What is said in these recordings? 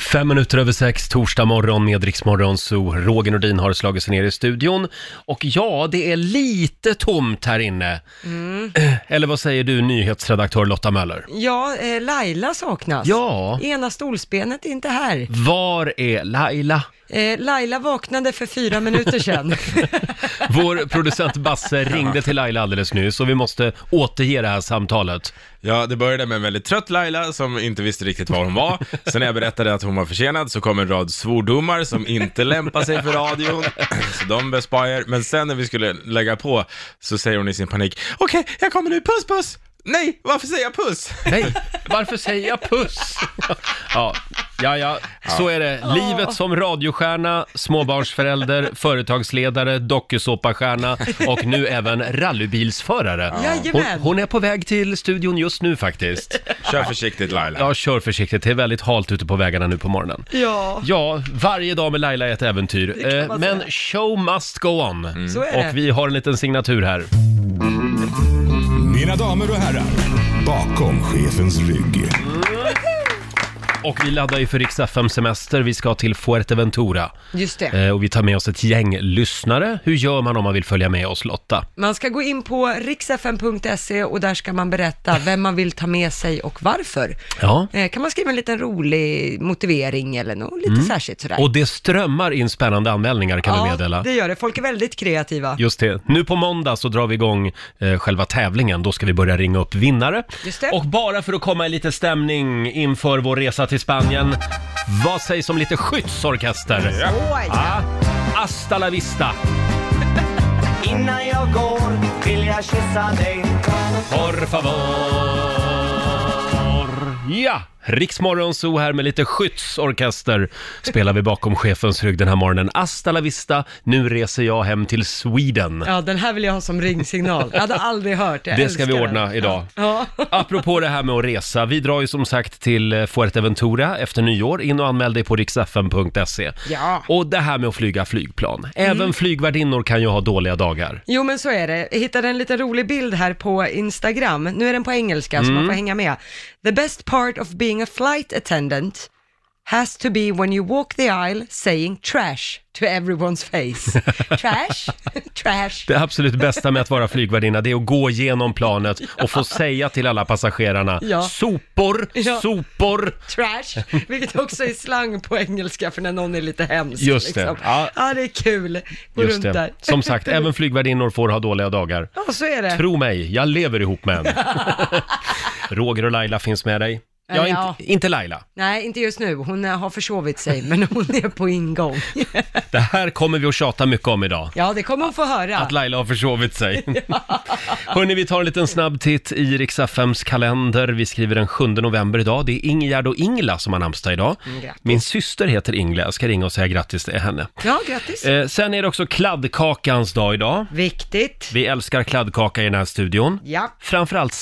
Fem minuter över sex, torsdag morgon med Rix Morgon Zoo. Roger Nordin har slagit sig ner i studion. Och ja, det är lite tomt här inne. Mm. Eller vad säger du, nyhetsredaktör Lotta Möller? Ja, eh, Laila saknas. Ja. Ena stolsbenet är inte här. Var är Laila? Eh, Laila vaknade för fyra minuter sedan. Vår producent Basse ringde till Laila alldeles nyss och vi måste återge det här samtalet. Ja, det började med en väldigt trött Laila som inte visste riktigt var hon var. Sen när jag berättade att hon var försenad så kom en rad svordomar som inte lämpar sig för radion. Så de bespar er. Men sen när vi skulle lägga på så säger hon i sin panik, okej, jag kommer nu, puss puss! Nej, varför säger jag puss? Nej, varför säger jag puss? Ja, ja, ja, så är det. Livet som radiostjärna, småbarnsförälder, företagsledare, dokusåpastjärna och nu även rallybilsförare. Hon, Jajamän. hon är på väg till studion just nu faktiskt. Kör försiktigt Laila. Ja, kör försiktigt. Det är väldigt halt ute på vägarna nu på morgonen. Ja, Ja, varje dag med Laila är ett äventyr. kan Eh, man Men säga. show must go on. Mm. så är det. Och vi har en liten signatur här. Mina damer och herrar, bakom chefens rygg. Och vi laddar ju för Rix FM semester. Vi ska till Fuerteventura. Just det. Eh, Och vi tar med oss ett gäng lyssnare. Hur gör man om man vill följa med oss Lotta? Man ska gå in på riksfn.se och där ska man berätta vem man vill ta med sig och varför. Ja. Eh, kan man skriva en liten rolig motivering eller något lite särskilt sådär. Mm. Och det strömmar in spännande anmälningar kan vi meddela. Ja, det gör det. Folk är väldigt kreativa. Just det. Nu på måndag så drar vi igång eh, själva tävlingen. Då ska vi börja ringa upp vinnare. Just det. Och bara för att komma i lite stämning inför vår resa till Spanien. Vad sägs om lite skyddsorkester? Oj. Ah, hasta la vista! Innan jag går vill jag kyssa dig Por favor. Ja, Riksmorgon Zoo här med lite skyddsorkester spelar vi bakom chefens rygg den här morgonen. Hasta la vista, nu reser jag hem till Sweden. Ja, den här vill jag ha som ringsignal. Jag hade aldrig hört. Jag Det ska vi älskar ordna den. idag. Ja. Apropå det här med att resa, vi drar ju som sagt till eh, Fuerteventura efter nyår. In och anmäl dig på riksfn.se. Ja. Mm. Och det här med att flyga flygplan. Även flygvärdinnor kan ju ha dåliga dagar. Jo men så är det. Jag hittade en liten rolig bild här på Instagram. Nu är den på engelska så Mm. man får hänga med. The best part of being a flight attendant has to be when you walk the aisle saying trash to everyone's face. trash, trash. Det absolut bästa med att vara flygvärdinna, det är att gå igenom planet och få säga till alla passagerarna Ja. sopor, Ja. sopor. Trash, vilket också är slang på engelska för när någon är lite hemsk. Just det. Liksom. Ja. Ja. det är kul. Gå Just runt det. där. Som sagt, även flygvärdinnor får ha dåliga dagar. Ja, så är det. Tro mig, jag lever ihop med en. Roger och Laila finns med dig. Ja, Ja. inte, inte Laila. Nej, inte just nu. Hon eh, har försovit sig, men hon är på ingång. Det här kommer vi att tjata mycket om idag. Ja, det kommer hon få höra. Att Laila har försovit sig. Hörni, vi tar en liten snabb titt i Rix FMs kalender. Vi skriver den 7 november idag. Det är Ingegärd och Ingla som har namnsdag idag. Mm, grattis. Min syster heter Ingla. Jag ska ringa och säga grattis till henne. Ja, grattis. Eh, sen är det också kladdkakans dag idag. Viktigt. Vi älskar kladdkaka i den här studion. Ja. Framförallt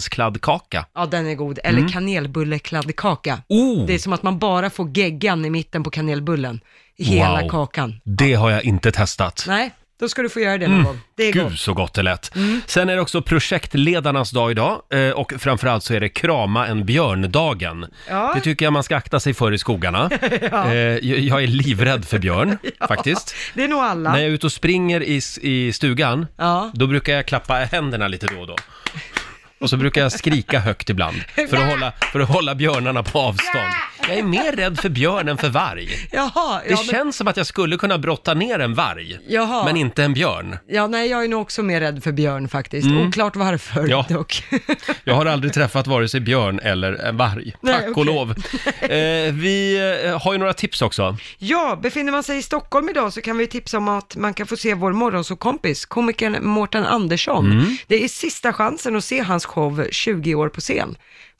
saffranskladdkaka. Ja, den är god. Eller kanelbullekladdkaka. Mm. Oh, Det är som att man bara får geggan i mitten på kanelbullen. I hela Wow. kakan. det har jag inte testat. Nej, då ska du få göra det Mm. någon gång. Det är Gud gott. Mm. så gott det lät. Sen är det också projektledarnas dag idag eh, och framförallt så är det krama en björndagen. Ja. Det tycker jag man ska akta sig för i skogarna. Eh, jag- jag är livrädd för björn faktiskt. Det är nog alla. När jag är ute och springer i, s- i stugan, Ja. då brukar jag klappa händerna lite då och då. Och så brukar jag skrika högt ibland för att, hålla, för att hålla björnarna på avstånd. Jag är mer rädd för björn än för varg. Jaha, Det ja, men, känns som att jag skulle kunna brotta ner en varg, Jaha. men inte en björn. ja, nej, jag är nog också mer rädd för björn faktiskt. Oklart varför Mm. Ja. dock. Jag har aldrig träffat vare sig björn eller en varg, Nej, tack och okej. lov. Eh, vi eh, har ju några tips också. ja, befinner man sig i Stockholm idag så kan vi tipsa om att man kan få se vår morgonsåkompis, komikern Mårten Andersson. Mm. Det är sista chansen att se hans show 20 år på scen.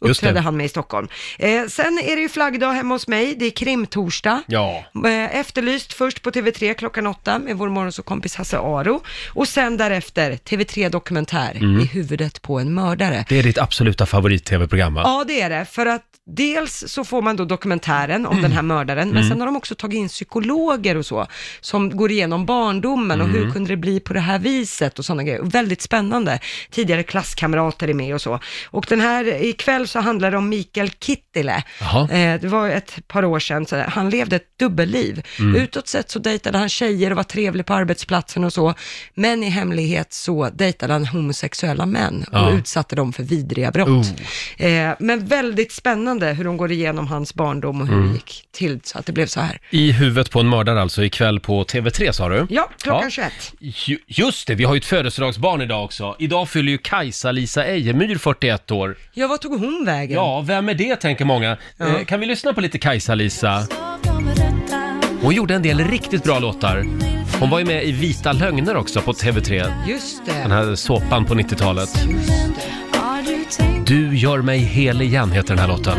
Just det. Uppträdde han med i Stockholm. Eh, sen är det ju flaggdag hemma hos mig, det är krimtorsdag. Ja. Eh, Efterlyst först på TV3 klockan åtta med vår morgonsåkompis Hasse Aro och sen därefter TV3 Mm. Dokumentär i huvudet på en mördare. Det är ditt absoluta favorit-tv-program va? Ja, det är det, för att Dels så får man då dokumentären om den här Mm. mördaren, men sen har de också tagit in psykologer och så, som går igenom barndomen och Mm. hur kunde det bli på det här viset och sådana grejer. Och Väldigt spännande. Tidigare klasskamrater är med och så. Och den här, ikväll så handlar det om Mikael Kittilä. Jaha. Eh, det var ett par år sedan, så han levde ett dubbelliv. Mm. Utåt sett så dejtade han tjejer och var trevlig på arbetsplatsen och så, men i hemlighet så dejtade han homosexuella män och Ja. Oh. utsatte dem för vidriga brott. Eh, men väldigt spännande hur de går igenom hans barndom och hur Mm. det gick till så att det blev så här. I huvudet på en mördare alltså, ikväll på TV3 sa du? Ja, klockan 21. Ju- Just det, vi har ju ett födelsedagsbarn idag också. Idag fyller ju Kajsa-Lisa Ejemyr 41 år. Ja, vad tog hon vägen? Ja, vem är det tänker många. Eh, kan vi lyssna på lite Kajsa-Lisa? Hon gjorde en del riktigt bra låtar. Hon var ju med i Vita lögner också på TV3, Just den det. här såpan på 90-talet. Du gör mig hel igen heter den här låten.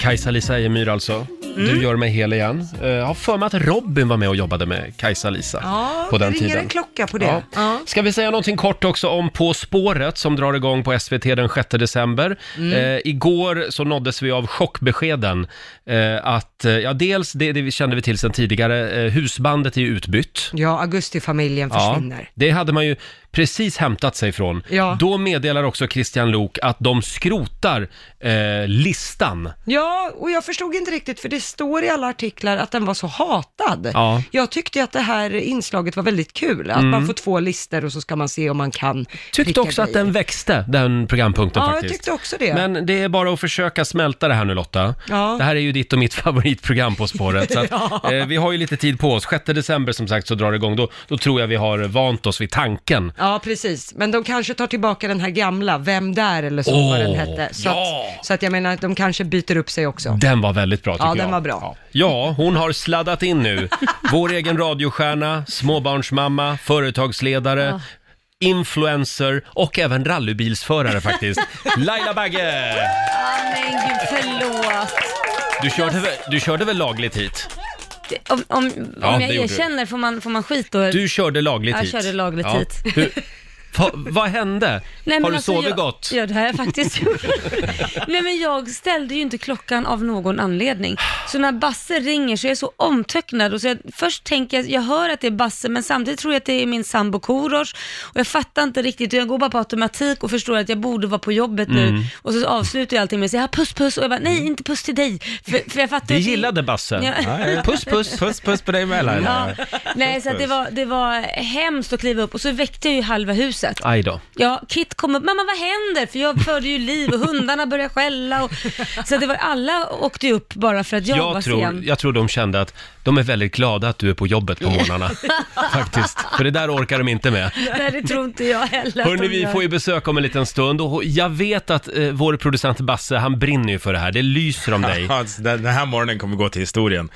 Kajsa-Lisa Ejemyr alltså. Mm. Du gör mig hel igen. Eh, Jag har för mig att Robin var med och jobbade med Kajsa-Lisa Ja, på den det ringer tiden. en klocka på det. Ja. Ja. Ska vi säga någonting kort också om På spåret som drar igång på SVT den 6 december. Mm. Eh, igår så nåddes vi av chockbeskeden eh, att, eh, ja dels det, det vi kände vi till sedan tidigare, eh, husbandet är ju utbytt. Ja, augustifamiljen försvinner. det hade man ju precis hämtat sig från. Ja. Då meddelar också Christian Lok att de skrotar eh, listan. Ja, och jag förstod inte riktigt, för det står i alla artiklar att den var så hatad. Ja. Mm. Jag tyckte att det här inslaget var väldigt kul, att man får två listor och så ska man se om man kan Tyckte pricka också att grejer. den växte, den programpunkten Ja, jag faktiskt. tyckte också det. Men det är bara att försöka smälta det här nu Lotta. Ja. Det här är ju ditt och mitt favoritprogram På spåret. Så att, eh, vi har ju lite tid på oss. 6 december som sagt så drar det igång. Då, då tror jag vi har vant oss vid tanken. Ja, precis. Men de kanske tar tillbaka den här gamla, Vem där eller så, vad den Åh, hette. Så, ja. att, så att jag menar, att de kanske byter upp sig också. Den var väldigt bra tycker Ja, jag. den var bra. Ja, hon har sladdat in nu. Vår egen radiostjärna, småbarnsmamma, företagsledare, influencer och även rallybilsförare faktiskt. Laila Bagge! men gud, förlåt. Du körde, väl- du körde väl lagligt hit? Det- Om, om, Ja, om det jag gjorde du. erkänner, får man, får man skit då? Du körde lagligt Jag hit. körde lagligt hit. Hur, va, vad hände? Nej, men har du alltså, sovit jag, gott? Ja, det har jag faktiskt gjort. Nej, men jag ställde ju inte klockan av någon anledning. Så när Basse ringer så är jag så omtöcknad. Och så jag, först tänker jag, jag hör att det är Basse, men samtidigt tror jag att det är min sambo Korosh. Och jag fattar inte riktigt, och jag går bara på automatik och förstår att jag borde vara på jobbet Mm. nu. Och så avslutar jag allting med att säga, "Ja, puss puss. Och jag bara, nej, inte puss till dig. För, för jag fattar Det att- gillade Basse. Ja. Puss puss. Puss puss på dig med Laila. Nej, så att det, var, det var hemskt att kliva upp och så väckte jag ju halva huset. Aj då. Ja, Kit kom upp. Mamma, vad händer? För jag förde ju liv och hundarna började skälla. Och, så att det var, alla åkte ju upp bara för att jag, var Jag tror, sen. jag tror de kände att de är väldigt glada att du är på jobbet på morgnarna. Faktiskt. För det där orkar de inte med. Nej, det tror inte jag heller. att Hörni, de vi gör. får ju besök om en liten stund och jag vet att eh, vår producent Basse, han brinner ju för det här. Det lyser om dig. Ja, alltså, Den den här morgonen kommer gå till historien.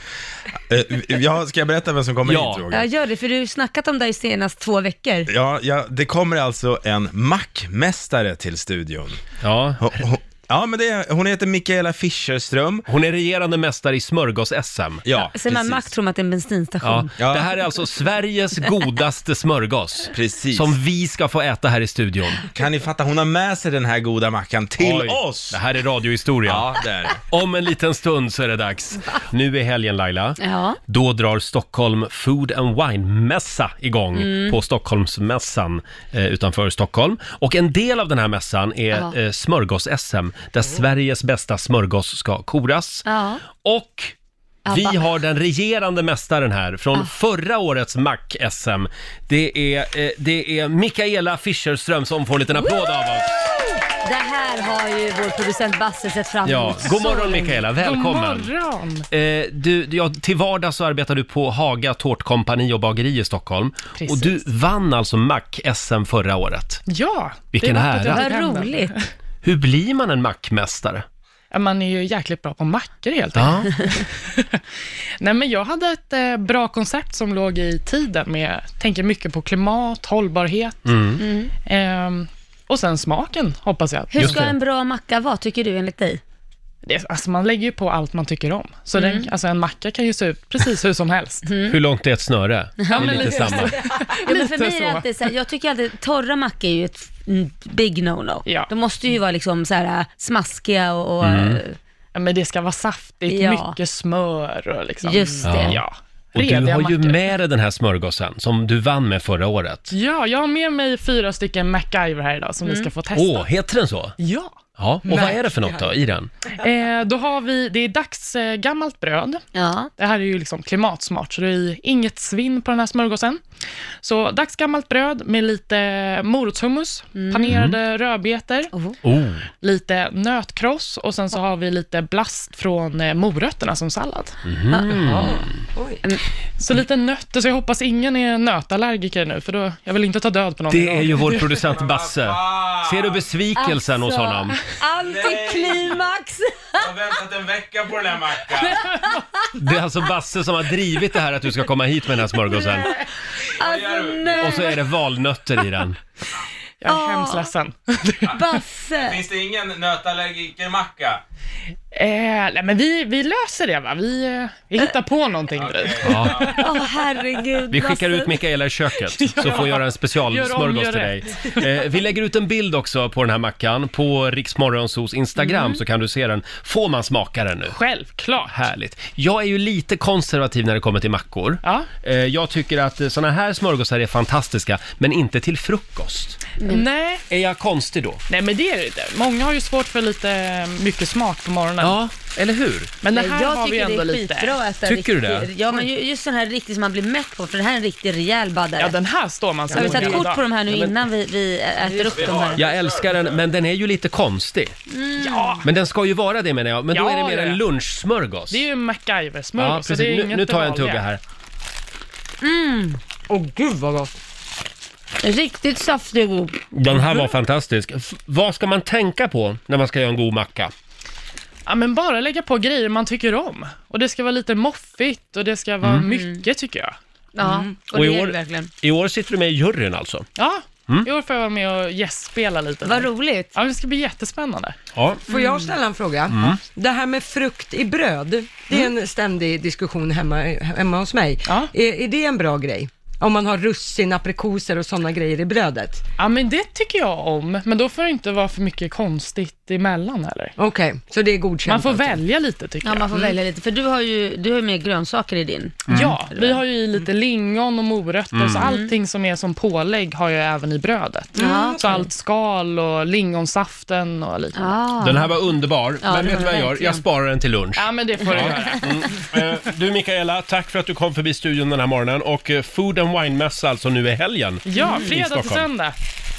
Eh, Ja, ska jag berätta vem som kommer Ja. hit Roger? Ja, gör det, för du har ju snackat om det här senast två veckor. Ja, ja, det kommer alltså en mackmästare till studion. Ja. Ho- ho- Ja, men det är, hon heter Mikaela Fischerström. Hon är regerande mästare i smörgås-SM. Ja, Sen man precis. Mac tror man att det är en bensinstation. Ja, Ja. Det här är alltså Sveriges godaste smörgås. Precis. Som vi ska få äta här i studion. Kan ni fatta, hon har med sig den här goda mackan till Oj, oss! Det här är radiohistoria. Ja, det är det. Om en liten stund så är det dags. Nu är helgen Laila. Ja. Då drar Stockholm Food and Wine-mässa igång Mm. på Stockholmsmässan eh, utanför Stockholm. Och en del av den här mässan är Ja. eh, smörgås-SM, där Sveriges bästa smörgås ska koras. Ja. Och vi Abba. har den regerande mästaren här från förra årets Mac-SM. Det är, eh, det är Mikaela Fischerström som får en liten applåd av oss. Det här har ju vår producent Basse sett fram Ja, emot. god så morgon länge. Mikaela, välkommen! morgon! Eh, du, ja, till vardags så arbetar du på Haga Tårtkompani och bageri i Stockholm. Precis. Och du vann alltså Mac-SM förra året. Ja! Vilken det är något att jag ära. fick Vad hända. roligt. Hur blir man en Mac-mästare? Ja, Man är ju jäkligt bra på mackor helt enkelt. Ja. Nej, men jag hade ett eh, bra koncept som låg i tiden med, tänker mycket på klimat, hållbarhet Mm. ehm, och sen smaken hoppas jag. Hur Mm. Just ska det. en bra macka vara, tycker du, enligt dig? Det, alltså man lägger ju på allt man tycker om. Så Mm. den, alltså en macka kan ju se ut precis hur som helst. Hur långt är ett snöre? det är men lite lite samma. Ja, men för Lite mig är det så. alltid så här, jag tycker alltid torra mackor är ju ett mm, big no-no. Ja. De måste ju vara liksom så här äh, smaskiga och, och Mm. äh, Ja, Men det ska vara saftigt, Ja. mycket smör och liksom... Just det. Ja. Och du Rediga har ju mackor. med dig den här smörgåsen som du vann med förra året. Ja, jag har med mig fyra stycken MacGyver här idag som ni ska få testa. Mm. Åh, heter den så? Ja. Ja, och vad är det för något då i den? Eh, då har vi, det är dagsgammalt eh, gammalt bröd. ja. Det här är ju liksom klimatsmart, så det är inget svinn på den här smörgåsen. Så dagsgammalt bröd med lite morotshummus, panerade rödbetor, Mm. Oh, Mm-hmm. lite nötkross och sen så har vi lite blast från eh, morötterna som sallad. Mm. Ah, Mm. Så lite nötter, så jag hoppas ingen är nötallergiker nu, för då, jag vill inte ta död på någon. det är ju vår producent Basse. Ser du besvikelsen Alltså, Alltså. hos honom? Antiklimax! Jag har väntat en vecka på den här mackan. Det är alltså Basse som har drivit det här att du ska komma hit med den här smörgåsen. Alltså Och nej, så är det valnötter i den. Jag är Ah. hemskt ledsen. Basse! det ingen nötallergiker-macka? eh, nej, men vi, vi löser det va, vi, eh, vi hittar på någonting. Ja. Åh herregud. Vi skickar Basse. ut Mikaela i köket så får göra en specialsmörgås Gör om, till gör dig. Eh, vi lägger ut en bild också på den här mackan på Riksmorgonsos Instagram så kan du se den. Får man smaka den nu? Mm. Självklart. Härligt. Jag är ju lite konservativ när det kommer till mackor. Ja. Eh, Jag tycker att eh, såna här smörgåsar är fantastiska, men inte till frukost. Mm. Nej, Är jag konstig då? nej, men det är det inte. Många har ju svårt för lite eh, mycket smak på morgonen. Ja, eller hur? Men det Nej, här jag har vi ju tycker det ändå är lite. skitbra att äta Tycker du det? riktig- Ja men ju- just den här riktigt som man blir mätt på för den här är en riktig rejäl baddare. Ja, den här står man så Har vi många tagit kort dagar. på de här nu innan vi, vi äter upp de här? Jag älskar den, men den är ju lite konstig. Ja, Men den ska ju vara det menar jag, men då Ja, är det mer ja, ja. en lunchsmörgås. det är ju MacGyver-smörgås. Ja, så det är precis. Nu, inget nu tar jag en det vanliga. tugga här. Mm. Riktigt saftig och god. Den här var fantastisk. F- vad ska man tänka på när man ska göra en god macka? Ja, men bara lägga på grejer man tycker om. Och det ska vara lite moffigt och det ska vara mycket, tycker jag. Ja, och, Mm. Och i det är år- det verkligen. I år sitter du med i juryn alltså. Ja, i år får jag vara med och gästspela lite. Vad roligt. Ja, det ska bli jättespännande. Mm. Ja. Får jag ställa en fråga? Mm. Det här med frukt i bröd, det är en ständig diskussion hemma, hemma hos mig. Ja. Är, är det en bra grej? Om man har russin, aprikoser och sådana grejer i brödet? Ja, men det tycker jag om. Men då får det inte vara för mycket konstigt emellan heller. Okej, så det är godkänt? Man får alltså. välja lite, tycker Ja, jag. Mm. man får välja lite. För du har ju, du har ju mer grönsaker i din. Mm. Ja, vi har ju i lite lingon och morötter, så allting som är som pålägg har jag även i brödet. Så allt skal och lingonsaften och lite. Ja, Ah. Den här var underbar, Ja, men det vet du var vad jag gör? verkligen. Jag sparar den till lunch. men det får du göra. Eh, Du Mikaela, tack för att du kom förbi studion den här morgonen och eh, Food and Wine-mässa alltså nu i helgen Ja, i fredag till Stockholm. söndag.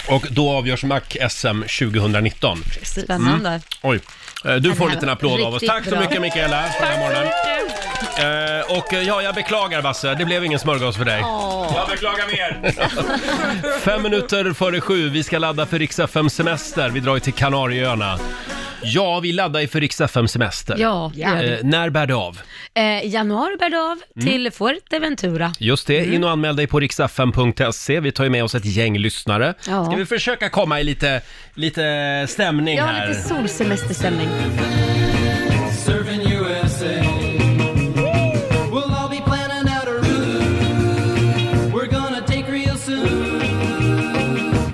och då avgörs Mac-SM 2019. Spännande. Mm. Oj. Eh, Du får en här liten var applåd av oss. riktigt Tack så bra. mycket Mikaela för den här morgonen. Eh, Och eh, ja, jag beklagar Basse, det blev ingen smörgås för dig. Jag beklagar mer. Fem minuter före sju, vi ska ladda för riks FM semester. Vi drar ju till Kanarieöarna. Ja, vi laddar ju för riks FM semester. Ja, det gör vi. Eh, när bär det av? Eh, januari bär det av Mm. till Fuerteventura. Just det, Mm. in och anmäl dig på riksfm.se. Vi tar ju med oss ett gäng lyssnare. Ja. Ska vi försöka komma i lite, lite stämning Jag har här? lite solsemesterstämning. We'll all be planning out a route. We're gonna take real soon.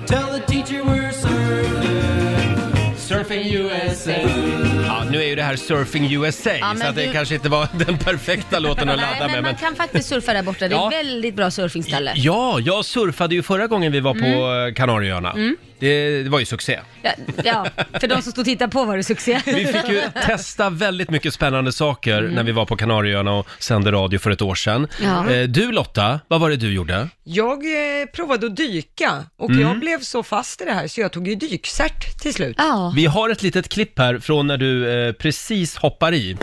Tell the teacher we're surfing. Surfing USA. Ja, nu är ju det här Surfing USA, men så att det du- kanske inte var den perfekta låten att Nej, men ladda man med. Men... kan faktiskt surfa där borta. Det är Ja. ett väldigt bra surfingställe. Ja, jag surfade ju förra gången vi var på Mm. eh, Kanarieöarna. Det, det var ju succé. Ja, ja, för de som stod och tittade på var det succé. Vi fick ju testa väldigt mycket spännande saker när vi var på Kanarieöarna och sände radio för ett år sedan. Ja. Eh, Du Lotta, vad var det du gjorde? Jag eh, provade att dyka och Mm. jag blev så fast i det här så jag tog ju dykcert till slut. Ja. Vi har ett litet klipp här från när du eh, precis hoppar i.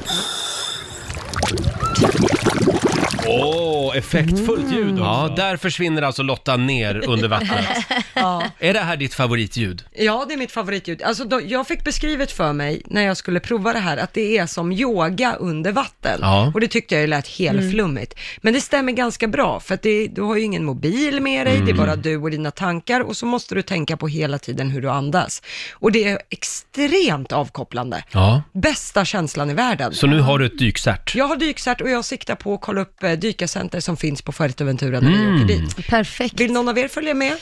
Åh, effektfullt ljud Ja, där försvinner alltså Lotta ner under vattnet. Ja. Är det här ditt favoritljud? Ja, det är mitt favoritljud. Alltså, då, jag fick beskrivet för mig när jag skulle prova det här att det är som yoga under vatten. Ja. Och det tyckte jag ju lät helflummigt. Men det stämmer ganska bra, för att det, du har ju ingen mobil med dig, det är Mm. bara du och dina tankar och så måste du tänka på hela tiden hur du andas. Och det är extremt avkopplande. Ja. Bästa känslan i världen. Så nu har du ett dykcert. Jag har dykcert och jag siktar på att kolla upp eh, dykarcenter som finns på Fuerteventura när Mm. vi åker dit. Perfekt. Vill någon av er följa med?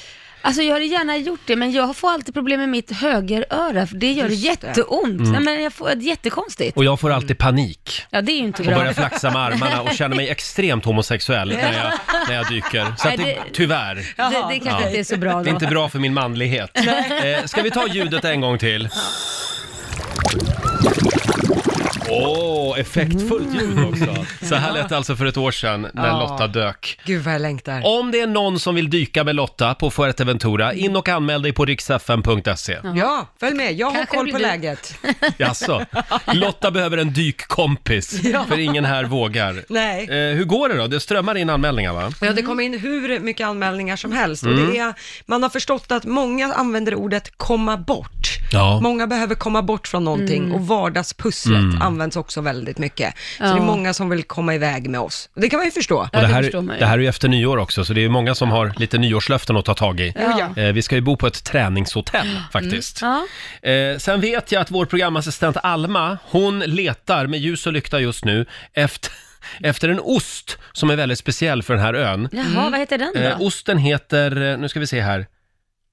Alltså jag hade gärna gjort det, men jag får alltid problem med mitt högeröra, för det gör Just det. jätteont. Nej, men jag får, det är jättekonstigt. Mm. Och jag får alltid panik Ja, det är ju inte och bra. börjar flaxa med armarna och känner mig extremt homosexuell när jag, när jag dyker. Så att det, tyvärr, Det, det kanske inte är så bra det är då. inte bra för min manlighet. Eh, ska vi ta ljudet en gång till? Åh, effektfullt ljud också. Så här lät det alltså för ett år sedan när Ja. Lotta dök. Gud vad jag längtar. Om det är någon som vill dyka med Lotta på Fuerteventura, in och anmäl dig på riksfn.se. Ja, följ med. Jag har Kanske koll blir på du. läget. Jaså, Lotta behöver en dykkompis, för ingen här vågar. Nej. Eh, hur går det då? Det strömmar in anmälningar va? Ja, det kommer in hur mycket anmälningar som helst. Mm. Och det är, man har förstått att många använder ordet komma bort. Ja. Mm. Många behöver komma bort från någonting och vardagspusslet används också väldigt mycket. Så det är många som vill komma iväg med oss. Och Det kan man ju förstå. Och Ja, det, det här, förstår man ju. det här är ju efter nyår också, så det är många som har lite nyårslöften att ta tag i. Ja. Mm. Eh, vi ska ju bo på ett träningshotell faktiskt. Ja. Eh, sen vet jag att vår programassistent Alma, hon letar med ljus och lykta just nu efter, efter en ost som är väldigt speciell för den här ön. Jaha, vad heter den då? Eh, osten heter, eh, nu ska vi se här,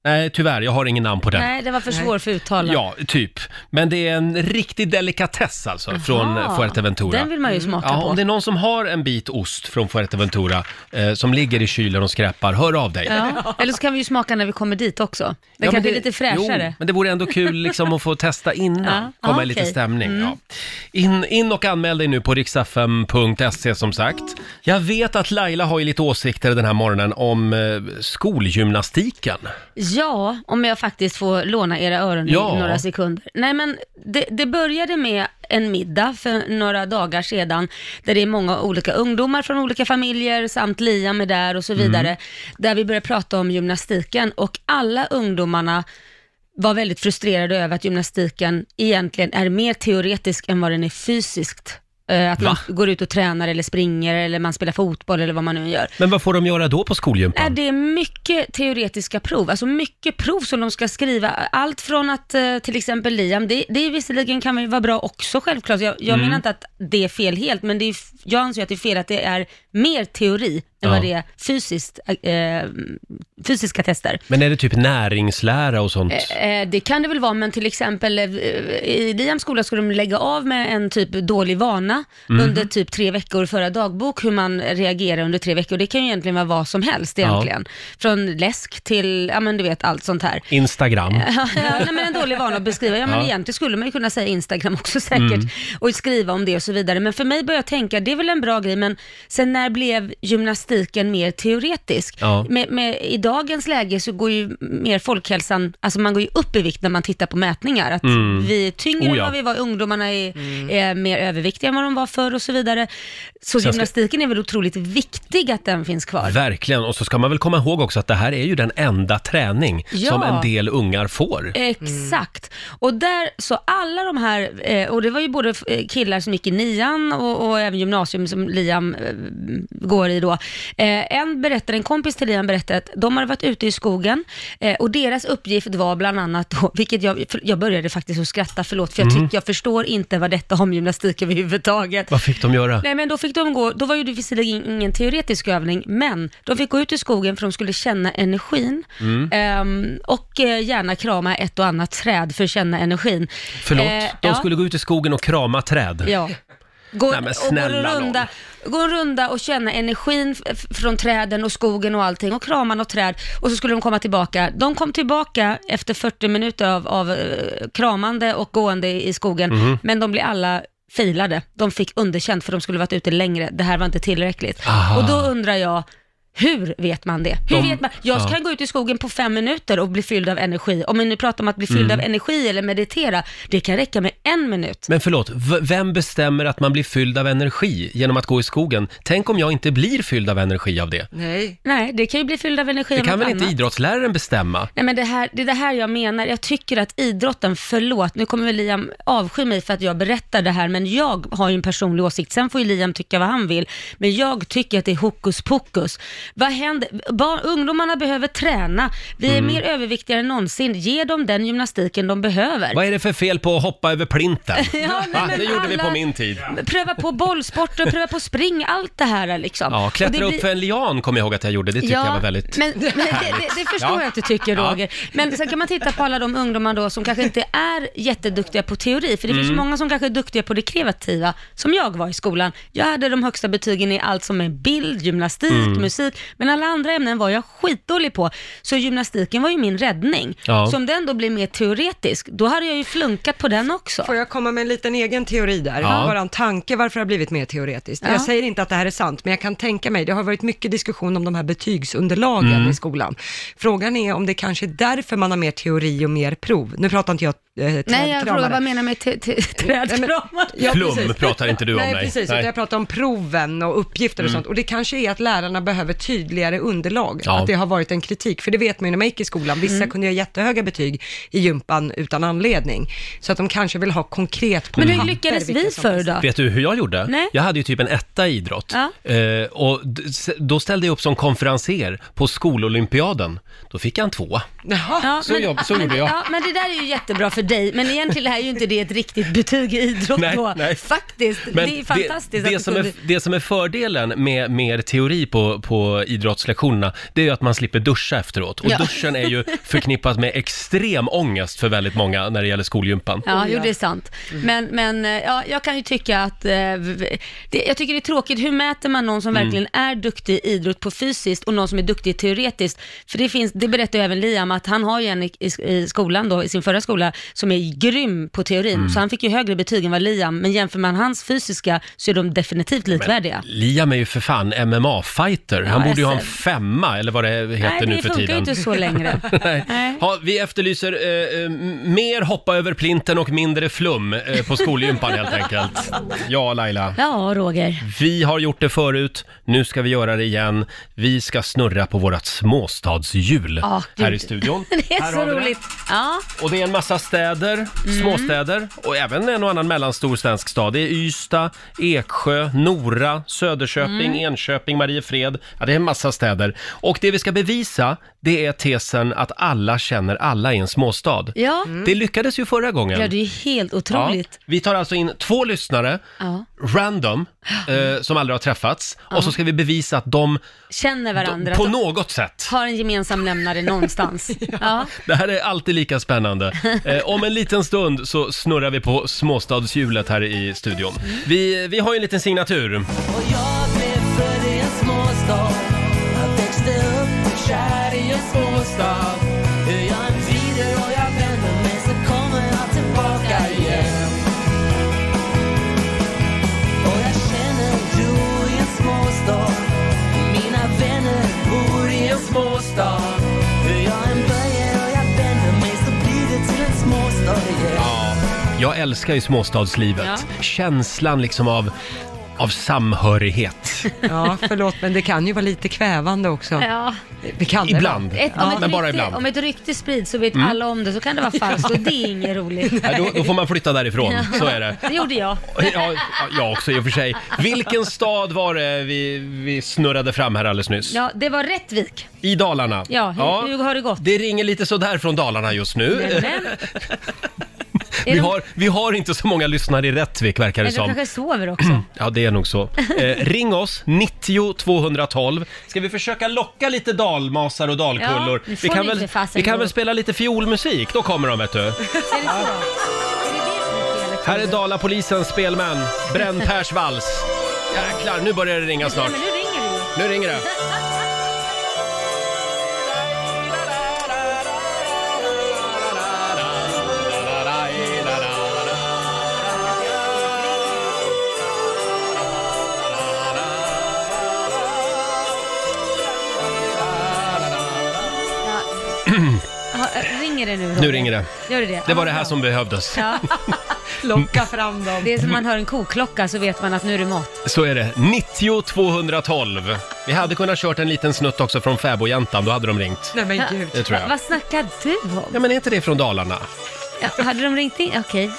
nej tyvärr, jag har ingen namn på den. Nej, det var för svår för uttal. Ja, typ. Men det är en riktig delikatess alltså, från eh, Fuerteventura. Den vill man ju smaka Ja, om på. det är någon som har en bit ost från Fuerteventura eh, som ligger i kylen och skräpar, hör av dig. Ja. Eller så kan vi ju smaka när vi kommer dit också. Det Ja, men kanske är lite Jo, fräschare. men det vore ändå kul liksom, att få testa innan, Ja. komma i Ah, lite okej. stämning. Ja. In, in och anmäl dig nu på riksfm.se som sagt. Jag vet att Laila har ju lite åsikter den här morgonen om eh, skolgymnastiken. Ja, om jag faktiskt får låna era öron Ja. i några sekunder. Nej, men det, det började med en middag för några dagar sedan, där det är många olika ungdomar från olika familjer, samt Liam är där och så vidare, där vi började prata om gymnastiken och alla ungdomarna var väldigt frustrerade över att gymnastiken egentligen är mer teoretisk än vad den är fysiskt. Eh, Att man går ut och tränar eller springer eller man spelar fotboll eller vad man nu gör. Men vad får de göra då på Är skolgympan? det mycket teoretiska prov, alltså mycket prov som de ska skriva. Allt från att eh, till exempel Liam, det, det är visserligen kan ju vara bra också självklart. Jag, jag menar inte att det är fel helt, men det är, f- jag anser att det är fel att det är mer teori än Ja. vad det är fysiskt, eh, fysiska tester. Men är det typ näringslära och sånt? Eh, det kan det väl vara, men till exempel eh, i Liams skola skulle de lägga av med en typ dålig vana under typ tre veckor förra dagbok, hur man reagerar under tre veckor. Det kan ju egentligen vara vad som helst egentligen. Från läsk till, ja men du vet, allt sånt här. Instagram? Ja, nej, men en dålig vana att beskriva. Ja, men Ja. Mm. Egentligen skulle man ju kunna säga Instagram också säkert och skriva om det och så vidare. Men för mig började jag tänka, det är väl en bra grej, men sen när blev gymnastiken mer teoretisk? Ja. Med, med, I dagens läge så går ju mer folkhälsan, alltså man går ju upp i vikt när man tittar på mätningar. Att vi är tyngre Oh ja. än vad vi var, ungdomarna är, är mer överviktiga än vad de var förr och så vidare. Så ska- gymnastiken är väl otroligt viktig att den finns kvar. Verkligen, och så ska man väl komma ihåg också att det här är ju den enda träning Ja. Eh. som en del ungar får. Exakt. Och där, så alla de här, eh, och det var ju både eh, killar som gick i nian och, och även gymnasium som Liam eh, går i då. Eh, en berättade, en kompis till Liam berättade att de hade varit ute i skogen eh, och deras uppgift var bland annat då, vilket jag, för- jag började faktiskt att skratta, förlåt, för jag tyckte jag förstår inte vad detta har med gymnastik överhuvudtaget. Vad fick de göra? Nej men då fick de gå, då var ju det visserligen ingen teoretisk övning, men de fick gå ut i skogen för de skulle känna energin Mm. ehm, och eh, gärna krama ett och annat träd för att känna energin. Förlåt, Eh, de ja, skulle gå ut i skogen och krama träd. Ja. Gå, Nej, men och gå, snälla en nån. runda, gå en runda och känna energin f- från träden och skogen och allting och krama något träd och så skulle de komma tillbaka. De kom tillbaka efter 40 minuter av, av eh, kramande och gående i i skogen, Mhm. men de blev alla filade. De fick underkänt för de skulle varit ute längre. Det här var inte tillräckligt. Aha. Och då undrar jag, Hur vet man det? Hur De- vet man? Jag ja. kan gå ut i skogen på fem minuter och bli fylld av energi. Om vi nu pratar om att bli fylld Mm. av energi eller meditera, det kan räcka med en minut. Men förlåt, v- vem bestämmer att man blir fylld av energi genom att gå i skogen? Tänk om jag inte blir fylld av energi av det? Nej. Nej, det kan ju bli fylld av energi Det av kan något väl inte annat. idrottsläraren bestämma? Nej, men det, här, det är det här jag menar. Jag tycker att idrotten, förlåt, nu kommer väl Liam avsky mig för att jag berättar det här, men jag har ju en personlig åsikt. Sen får ju Liam tycka vad han vill, men jag tycker att det är hokus pokus. Vad händer? Barn, ungdomarna behöver träna. Vi är Mm. mer överviktiga än någonsin. Ge dem den gymnastiken de behöver. Vad är det för fel på att hoppa över plinten? Ja, nej, Va? men Det gjorde vi alla- på min tid. Pröva på bollsporter, pröva på spring, allt det här liksom. Ja, Och det klättra blir- upp för en lian kommer jag ihåg att jag gjorde. Det tyckte jag var väldigt... men, men det, det, det förstår Ja. jag att du tycker Ja. Roger. Men sen kan man titta på alla de ungdomar då som kanske inte är jätteduktiga på teori, för det Mm. finns ju många som kanske är duktiga på det kreativa, som jag var i skolan. Jag hade de högsta betygen i allt som är bild, gymnastik, Mm. musik, men alla andra ämnen var jag skitdålig på. Så gymnastiken var ju min räddning. Ja. Så om den då blir mer teoretisk, då hade jag ju flunkat på den också. Får jag komma med en liten egen teori där? Ja. Bara en tanke varför det har blivit mer teoretiskt. Ja. Jag säger inte att det här är sant, men jag kan tänka mig, det har varit mycket diskussion om de här betygsunderlagen i skolan. Frågan är om det kanske är därför man har mer teori och mer prov. Nu pratar inte jag eh, Nej, jag frågar vad trädkramare. jag menar med t- t- trädkramare. Ja, Flum precis. pratar inte du om Nej, mig. precis. Nej. Mm. utan Jag pratar om proven och uppgifter och sånt. Och det kanske är att lärarna behöver tydligare underlag. Ja. Att det har varit en kritik. För det vet man ju när man gick i skolan. Vissa Mm. kunde göra jättehöga betyg i gympan utan anledning. Så att de kanske vill ha konkret på Men hur papper lyckades vilka vi som förr finns. då? Vet du hur jag gjorde? Nej. Jag hade ju typ en etta i idrott. Ja. Eh, och d- s- då ställde jag upp som konferenser på skololympiaden. Då fick jag en tvåa. Jaha. Ja, Så jobb- så men, gjorde jag. Ja, men det där är ju jättebra för dig, men egentligen är ju inte det ett riktigt betyg i idrott Nej, då. nej. Faktiskt, Men det är fantastiskt Det, att det, du som, kunde... är, det som är fördelen med mer teori på, på idrottslektionerna, det är ju att man slipper duscha efteråt. Och Ja. duschen är ju förknippat med extrem ångest för väldigt många när det gäller skolgympan. Ja, jo det är sant. Mm. Men, men eh, ja, jag kan ju tycka att, eh, v- det, jag tycker det är tråkigt, hur mäter man någon Mm. som verkligen är duktig i idrott på fysiskt och någon som är duktig teoretiskt? För det finns, det berättar ju även Liam, att han har ju en i, i, i skolan då, i sin förra skola, som är grym på teorin, Mm. så han fick ju högre betyg än vad Liam, men jämför man hans fysiska så är de definitivt likvärdiga. Liam är ju för fan MMA-fighter. Han Ja, borde ju ha en SM. femma, eller vad det heter nu för Nej, det funkar ju tiden. inte så längre. Nej. Ha, vi efterlyser eh, eh, m- mer hoppa över plinten och mindre flum eh, på skolgympan helt enkelt. Ja, Laila. Ja, Roger. Vi har gjort det förut, nu ska vi göra det igen. Vi ska snurra på vårt småstadshjul Ah, här gud. i studion. Det är Här så har vi det. roligt. Ja, Mm. Och det är en massa städer, småstäder och även en och annan mellanstor svensk stad. Det är Ystad, Eksjö, Nora, Söderköping, Mm. Enköping, Mariefred. Ja, det är en massa städer. Och det vi ska bevisa, det är tesen att alla känner alla i en småstad. ja. Det lyckades ju förra gången. ja det är ju helt Ja. otroligt. Vi tar alltså in två lyssnare, Ja. random, eh, som aldrig har träffats. Och så ska vi bevisa att de Känner varandra, på något sätt. har en gemensam nämnare någonstans. ja. Det här är alltid lika spännande. Eh, om en liten stund så snurrar vi på småstadshjulet här i studion. Mm. Vi, vi har ju en liten signatur. Och jag blev född i en småstad Jag växte upp och kär i en småstad Hur jag än vrider och jag vänder mig så kommer jag tillbaka igen Och jag känner ro i en småstad Mina vänner bor i en småstad Hur jag än böjer och jag vänder mig så blir det till en småstad igen Jag älskar ju småstadslivet. Känslan liksom av, av samhörighet. Ja, förlåt, men det kan ju vara lite kvävande också. Ja. Det kan det Ibland. vara. Ett, om, ett men bara rykte, ibland. Mm. om ett rykte sprids så vet alla om det, så kan det vara falskt och det är inget roligt. Nej, då, då får man flytta därifrån, så är det. Det gjorde jag. Ja, jag också i och för sig. Vilken stad var det vi, vi snurrade fram här alldeles nyss? Ja, det var Rättvik. I Dalarna. Ja, hur- hur har det gått? Det ringer lite sådär från Dalarna just nu. Men, men, vi, de- har, vi har inte så många lyssnare i Rättvik verkar det eller de som. kanske sover också. Ja, det är nog så. Eh, ring oss, 90 212. Ska vi försöka locka lite dalmasar och dalkullor? Ja, nu får vi, kan ni väl, inte fasen vi kan gå. väl spela lite fiolmusik? Då kommer de, vet du. Är det så? Är det det som är felet? Här är Dalapolisens spelmän, Bränn Pers vals. Jäklar, nu börjar det ringa Nej, snart. men nu ringer det ju. Nu ringer det. det nu Roger? Nu ringer det. Gör det det? Det var det Ja, här bra. som behövdes. Ja, Locka fram dem. det är som man hör en koklocka så vet man att nu är det mat. Så är det. 90 212. Vi hade kunnat kört en liten snutt också från fäbodjäntan, då hade de ringt. Nej men gud. Det tror Va- jag. Vad snackar du om? Ja, men är inte det från Dalarna? Ja, hade de ringt in? Okej.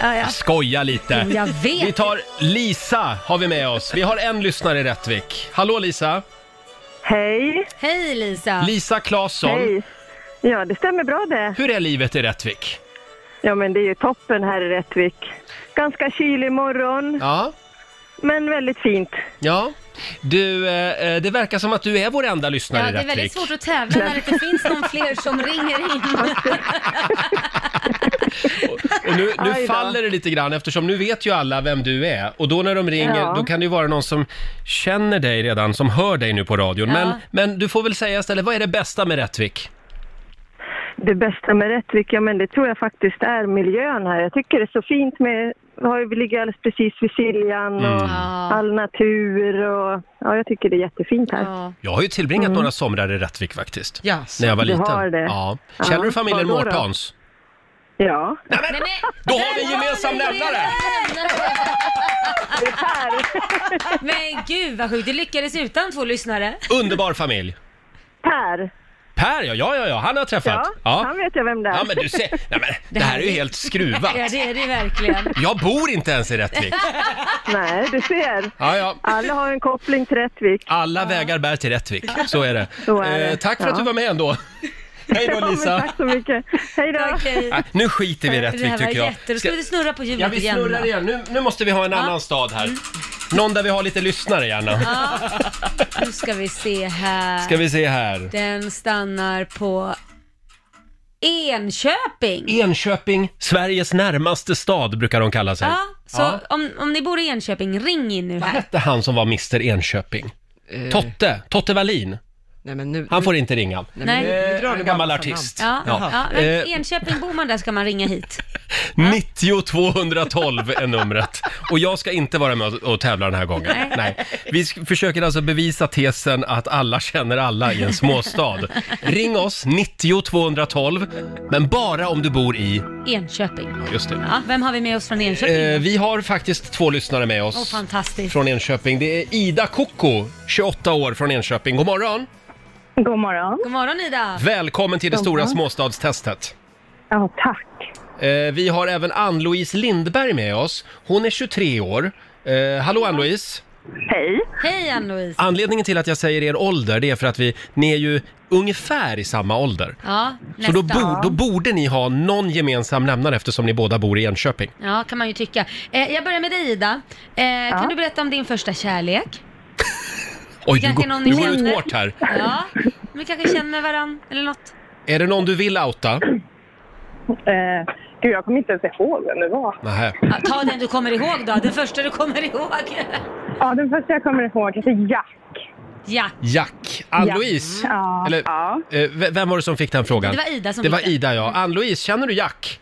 Ja, ja. Skoja lite. Jag Vi vet. tar Lisa, har vi med oss. Vi har en lyssnare i Rättvik. Hallå Lisa! Hej! Hej Lisa! Lisa Claesson. Hej! Ja, det stämmer bra det. Hur är livet i Rättvik? Ja, men det är ju toppen här i Rättvik. Ganska kylig morgon, Ja, men väldigt fint. ja. Du, eh, eh, det verkar som att du är vår enda lyssnare Ja, i det är Rättvik. väldigt svårt att tävla när det inte finns någon fler som ringer in. Och nu, nu Aj då. faller det lite grann eftersom nu vet ju alla vem du är. Och då när de ringer, Ja. då kan det ju vara någon som känner dig redan, som hör dig nu på radion. Ja. Men, men du får väl säga istället, vad är det bästa med Rättvik? Det bästa med Rättvik, ja men det tror jag faktiskt är miljön här. Jag tycker det är så fint med, vi har ju- vi ligger alldeles precis vid Siljan Mm. och Ja. all natur och ja, jag tycker det är jättefint här. Ja. Jag har ju tillbringat några somrar i Rättvik faktiskt. Jaså? När jag var Mm. Du liten. har det? Ja. Känner Ja, du familjen vadå då? Mårtans? Ja, Nej, men, Då har vi en gemensam nämnare! men gud vad sjukt, det lyckades utan två lyssnare. Underbar familj! Per, Per ja, ja, ja, ja, han har jag träffat. ja, han vet jag vem det är. Ja, men du ser. Nej, men, det här är ju helt skruvat. Ja det är det verkligen. Jag bor inte ens i Rättvik. Nej, du ser. Ja, ja. Alla har en koppling till Rättvik. Alla vägar bär till Rättvik, så är det. Så är det. Eh, tack för att Ja. du var med ändå. Hej då Ja, men Lisa. tack så mycket. Hej då! Okej. Nej, nu skiter vi i Det Rättvik här var tycker jag. jätte... Då Ska- ska vi snurra på hjulet Ja, vi igen. snurrar då. igen. Nu, nu måste vi ha en annan stad här. Någon där vi har lite lyssnare gärna. Nu ska vi se här. Ska vi se här. Den stannar på Enköping. Enköping, Sveriges närmaste stad brukar de kalla sig. Ja, så Om, om ni bor i Enköping, ring in nu här. Hette han som var Mr Enköping? Totte, Totte Wallin. Eh. Nej men nu. Han får inte ringa. Nej. Nu drar Eh, En du bara gammal massa artist. Ja, ja. men Eh, Enköping, bor man där ska man ringa hit. 90 212 är numret. Och jag ska inte vara med och tävla den här gången. Nej. Vi sk- försöker alltså bevisa tesen att alla känner alla i en småstad. Ring oss, 90 212, men bara om du bor i... Enköping. Just det. Ja, vem har vi med oss från Enköping? Eh, vi har faktiskt två lyssnare med Åh, oss fantastiskt. från Enköping. Det är Ida Koko, 28 år från Enköping. God morgon! God morgon. God morgon Ida! Välkommen till det stora småstadstestet. Ja, tack. Eh, vi har även Ann-Louise Lindberg med oss. Hon är 23 år. Eh, hallå Ann-Louise! Hej. Hej Ann-Louise! Anledningen till att jag säger er ålder, det är för att vi, ni är ju ungefär i samma ålder. Ja, nästa. Så då, bo, då borde ni ha någon gemensam nämnare eftersom ni båda bor i Enköping. Ja, kan man ju tycka. Eh, jag börjar med dig Ida. Eh, Kan du berätta om din första kärlek? Oj, du, Kanske går- någon ni du går känner? ut hårt här. Ja, vi kanske känner varandra eller något. Är det någon du vill outa? Eh, gud, jag kommer inte ens ihåg vem det var. Nähä. Ja, ta den du kommer ihåg då, den första du kommer ihåg. Ja, den första jag kommer ihåg heter Jack. Jack. Jack. Ann-Louise? Ja. Eller, ja. eh, v- vem var det som fick den frågan? Det var Ida som Det var fick den. Ida, ja. Ann-Louise, känner du Jack?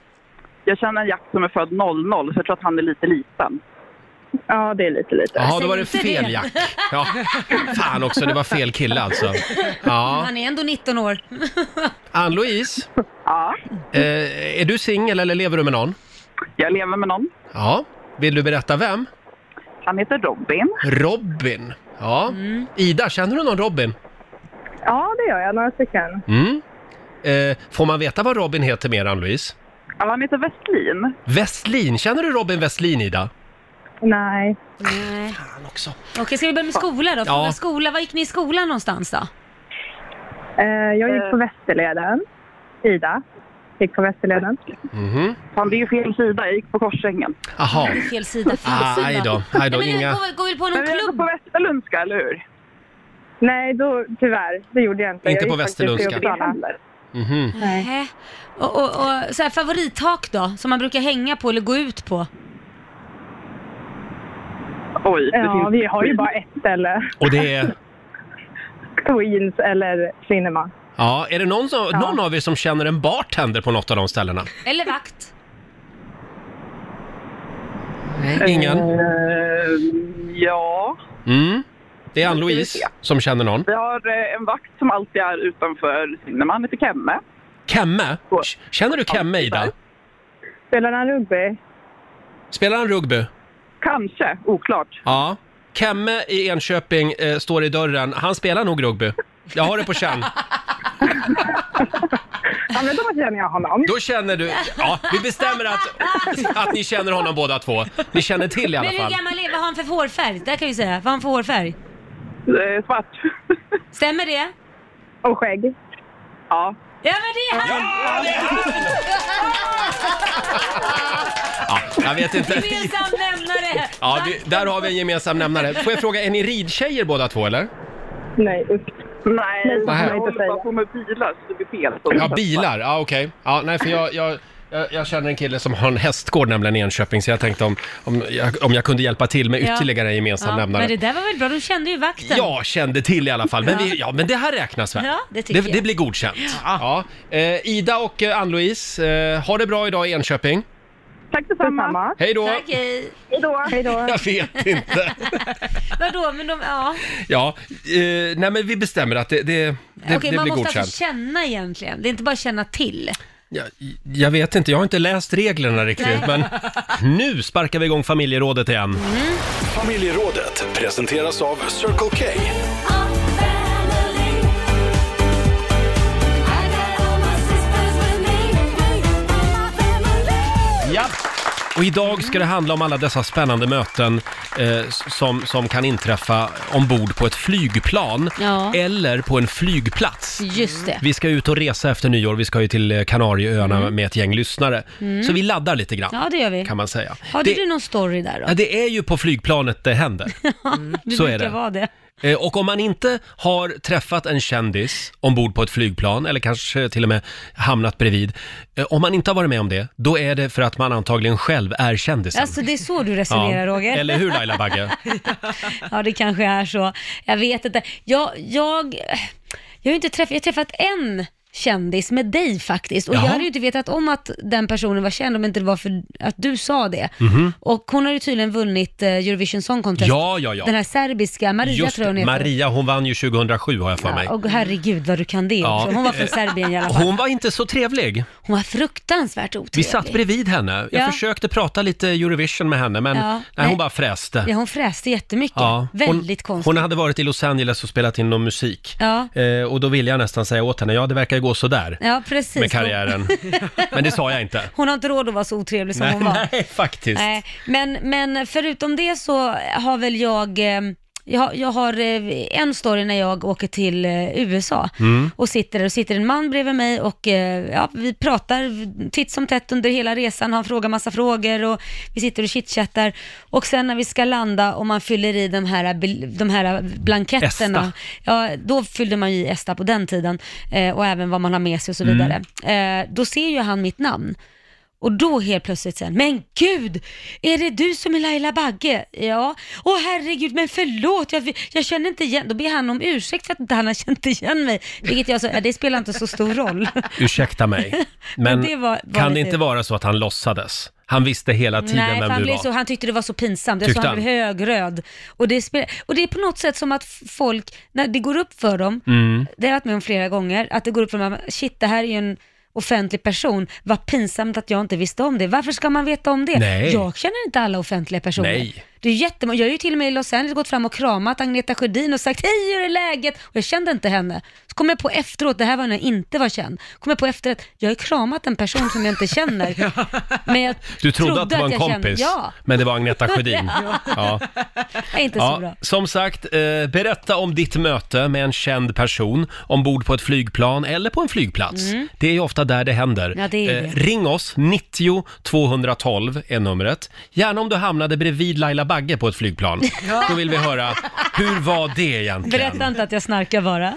Jag känner en Jack som är född 00, så jag tror att han är lite liten. ja, det är lite lite. Jaha, säg då var det inte fel det. Jack. Ja. Fan också, det var fel kille alltså. Ja. Han är ändå 19 år. Ann-Louise, Ja, eh, är du singel eller lever du med någon? jag lever med någon. Ja. Vill du berätta vem? Han heter Robin. Robin. Ja. Mm. Ida, känner du någon Robin? Ja, det gör jag. Några stycken. Mm. Eh, får man veta vad Robin heter mer, Ann-Louise? Ja, Han heter Westlin. Westlin. Känner du Robin Westlin, Ida? Nej. Nej. Han också. Okej, ska vi börja med skola då? Ja. Ja. Skola, var gick ni i skolan någonstans då? Eh, jag gick på Västerleden. Ida gick på Västerleden. Fan, det är ju fel sida. Jag gick på Korsängen. Mhm. Aha. Fel sida, fel Ah, sida. aj då, aj då, Nej, men inga- inga... går, väl- går väl på någon Men vi är klubb? på Västerlundska, eller hur? Nej, då, tyvärr. Det gjorde jag inte. Inte jag på gick faktiskt till Västerlundska. Uppsala. Mhm. Nej. Och, och, och så här, favorittak då, som man brukar hänga på eller gå ut på? Oj, det Ja, finns... vi har ju bara ett ställe. Och det är... Queens eller Cinema. Ja, är det någon, som, någon av er som känner en bartender på något av de ställena? Eller vakt? Ingen? Eh, ja, Mm. Det är Ann-Louise som känner någon. vi har eh, en vakt som alltid är utanför Cinema. Han heter Kenne. Kemme? K- Känner du Kemme, Ida? Spelar han rugby? Spelar han rugby? Kanske, oklart. Ja. Kemme i Enköping eh, står i dörren. Han spelar nog rugby. Jag har det på känn. Ja, men då känner jag honom. Då känner du... Ja, vi bestämmer att, att ni känner honom båda två. Ni känner till i Men alla fall. hur gammal är Vad har han för hårfärg? Där kan vi säga. Vad har han för hårfärg? svart. Stämmer det? Och skägg. Ja. Ja men det är han! Ja, det är Ja, jag vet inte. Gemensam nämnare! Ja, vi, där har vi en gemensam nämnare. Får jag fråga, är ni ridtjejer båda två eller? Nej, Nej, Nej, jag jag håller bara på med bilar så det blir fel. Ja, bilar. Ja, okej. Ja, nej, för jag, jag, jag, jag känner en kille som har en hästgård nämligen i Enköping, så jag tänkte om, om, jag, om jag kunde hjälpa till med Ja. ytterligare en gemensam Ja, nämnare. Men det där var väl bra, du kände ju vakten. Jag kände till i alla fall, men, vi, ja, men det här räknas väl? Ja, det tycker det, jag. blir godkänt. Ja. Eh, Ida och eh, Ann-Louise, eh, ha det bra idag i Enköping. Tack detsamma. Hej då. Tack, hej. Hej då. Jag vet inte. Vadå, men de, ja. Ja, eh, nej men vi bestämmer att det, det, det, Okej, det man blir måste godkänt. alltså känna egentligen. Det är inte bara känna till. Ja, Jag vet inte, jag har inte läst reglerna riktigt, men Nej. nu sparkar vi igång familjerådet igen. Familjerådet presenteras av Circle K. Ja. Och idag ska det handla om alla dessa spännande möten eh, s- som, som kan inträffa ombord på ett flygplan Ja. eller på en flygplats. Just det. Vi ska ut och resa efter nyår, vi ska ju till eh, Kanarieöarna med ett gäng lyssnare. Mm. Så vi laddar lite grann, Ja, det gör vi. kan man säga. Har du någon story där då? Ja, det är ju på flygplanet det händer. du så är brukar det. vara det. Eh, Och om man inte har träffat en kändis ombord på ett flygplan eller kanske till och med hamnat bredvid. eh, Om man inte har varit med om det, då är det för att man antagligen själv är kändisen. Alltså det är så du resonerar Roger. Eller hur Laila Bagge? Ja, det kanske är så. Jag vet inte. Jag, jag, jag har ju inte träffat, jag har träffat en kändis med dig faktiskt och Jaha. jag hade ju inte vetat om att den personen var känd om inte det var för att du sa det. Mhm. Och hon har ju tydligen vunnit eh, Eurovision Song Contest. Ja, ja, ja. Den här serbiska, Maria Just tror jag hon det, heter. Maria, hon vann ju 2007 har jag för mig. Och herregud vad du kan det Ja. också. Hon var från Eh, Serbien i alla fall. Hon var inte så trevlig. Hon var fruktansvärt Vi otrevlig. satt bredvid henne. Jag Ja. försökte prata lite Eurovision med henne, men Ja. nej, Nej. hon bara fräste. Ja, hon fräste jättemycket. Ja, Väldigt hon, konstigt. hon hade varit i Los Angeles och spelat in någon musik. Ja. Eh, och då ville jag nästan säga åt henne, ja det verkar ju gå sådär. Ja, precis. med karriären. Men det sa jag inte. Hon har inte råd att vara så otrevlig som nej, hon var. nej, faktiskt. Nej, men, men förutom det så har väl jag, eh, jag, har- jag har eh, en story när jag åker till eh, USA Mm. och sitter där och sitter en man bredvid mig och eh, ja, vi pratar titt som tätt under hela resan, han frågar massa frågor och vi sitter och chitchattar och sen när vi ska landa och man fyller i de här, bil- de här blanketterna, Esta. ja, då fyllde man ju i ESTA på den tiden eh, och även vad man har med sig och så Mm. vidare. Eh, då ser ju han mitt namn. Och då helt plötsligt sen, men gud, är det du som är Laila Bagge? Ja, åh herregud, men förlåt, jag, jag känner inte igen, då ber han om ursäkt för att inte han har känt igen mig. Vilket jag sa, "Ja, det spelar inte så stor roll. Ursäkta mig, men Men det var- var kan det lite- inte vara så att han låtsades? Han visste hela tiden Nej, för vem han, du blev var. så, han tyckte det var så pinsamt. Jag Tyckte sa han han? blev högröd. Och det, spel, och det är på något sätt som att f- folk, när det går upp för dem, Mm. det har jag varit med om flera gånger, att det går upp för dem, att shit det här är ju en offentlig person, vad pinsamt att jag inte visste om det. Varför ska man veta om det? Nej. Jag känner inte alla offentliga personer. Nej. Det är jättemånga, jag har ju till och med i Los Angeles gått fram och kramat Agneta Sjödin och sagt hej hur är läget? Och jag kände inte henne. Så kom jag på efteråt, det här var när jag inte var känd, kom jag på efteråt, jag har ju kramat en person som jag inte känner. Men jag Du trodde, att det var en jag kompis, Kände, ja, men det var Agneta Sjödin. Ja. Ja. det är inte Ja, så bra. som sagt, eh, berätta om ditt möte med en känd person ombord på ett flygplan eller på en flygplats. Mm. Det är ju ofta där det händer. Eh, Ja, det är ju det. Ring oss, 90 212 är numret. Gärna om du hamnade bredvid Laila Bagge på ett flygplan. Ja. Då vill vi höra, hur var det egentligen? Berätta inte att jag snarkar bara.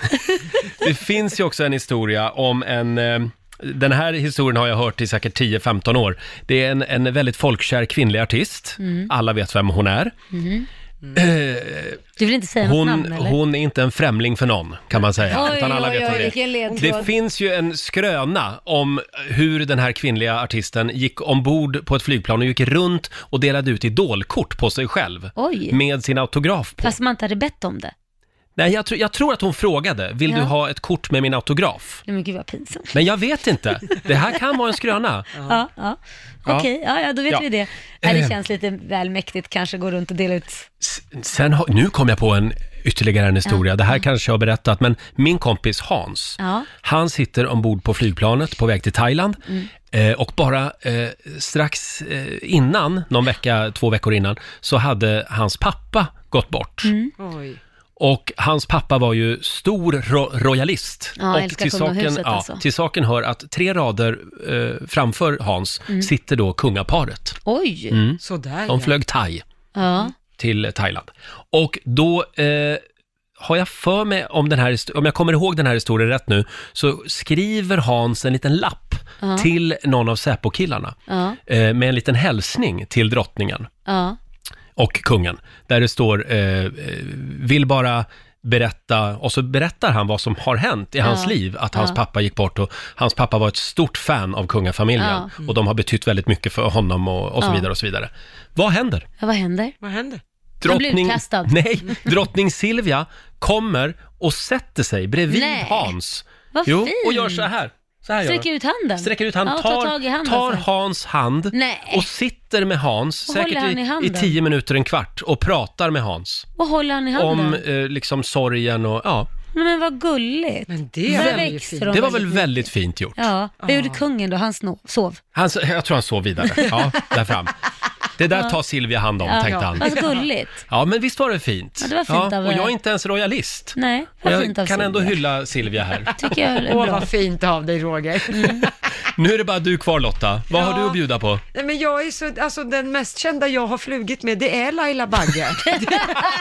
Det finns ju också en historia om en eh, den här historien har jag hört i säkert 10-15 år. Det är en, en väldigt folkkär kvinnlig artist. Mm. Alla vet vem hon är. Mm-hmm. Eh, Du vill inte säga hon, något namn eller? hon är inte en främling för någon, kan man säga. Oj, Utan alla oj, vet oj, vad det vilken är. ledtråd. Det finns ju en skröna om hur den här kvinnliga artisten gick ombord på ett flygplan och gick runt och delade ut idolkort på sig själv. Oj. Med sin autograf. Fast man inte hade bett om det. Nej, jag, tror- jag tror att hon frågade, vill du Ja. ha ett kort med min autograf? Nej men gud vad pinsamt. Men jag vet inte. Det här kan vara en skröna. Ja, ja. Ja. Okej, ja, ja, då vet Ja. vi det. Nej, det Eh. känns lite väl mäktigt kanske gå runt och dela ut. Sen har, nu kom jag på en ytterligare en historia. Det här kanske jag har berättat, men min kompis Hans, Ja. han sitter ombord på flygplanet på väg till Thailand. Mm. Eh, och bara eh, strax eh, innan, någon vecka, två veckor innan, så hade hans pappa gått bort. Mm. Oj. Och hans pappa var ju stor ro- royalist. Ja, och älskar kungahuset alltså. till saken hör att tre rader eh, framför Hans Mm. sitter då kungaparet. Oj! Mm. Sådär De flög thai Ja. till Thailand. Och då eh, har jag för mig, om, den här, histo- om jag kommer ihåg den här historien rätt nu, så skriver Hans en liten lapp Ja. till någon av Säpo-killarna Ja. eh, med en liten hälsning till drottningen Ja. och kungen, där det står eh, eh, “vill bara berätta” och så berättar han vad som har hänt i Ja. hans liv, att hans Ja. pappa gick bort och hans pappa var ett stort fan av kungafamiljen Ja. Mm. och de har betytt väldigt mycket för honom och, och så Ja. vidare och så vidare. Vad händer? ja, vad händer? Vad händer? Den blir utkastad. Nej, drottning Silvia kommer och sätter sig bredvid Nej. Hans. Vad jo, fint. och gör så här. Så här gör Sträcker hon. ut handen? Sträcker ut handen, Ja, tar, tar tag i handen. tar så. Hans hand Nej. och sitter med Hans, Och håller säkert han i i, i handen. tio minuter, en kvart, och pratar med Hans. Och håller han i handen? Om eh, liksom sorgen och, ja. Nej, Men vad gulligt. Men det var ju fint. Ah. Det var väl väldigt fint gjort. Ja, vad gjorde kungen då? Han sno- sov. Han, jag tror han sov vidare, ja, där fram. Det där Ja. tar Silvia hand om, ja. tänkte han. Vad gulligt. Ja, men visst var det fint? Ja, det var fint av Och er. jag är inte ens royalist. Nej, Och vad jag fint av kan ändå Silvia. hylla Silvia här. Tycker jag är Åh, bra. Mm. vad fint av dig, Roger. Nu är det bara du kvar Lotta. Vad har du att bjuda på? Nej, men jag är så, alltså den mest kända jag har flugit med, det är Laila Bagge.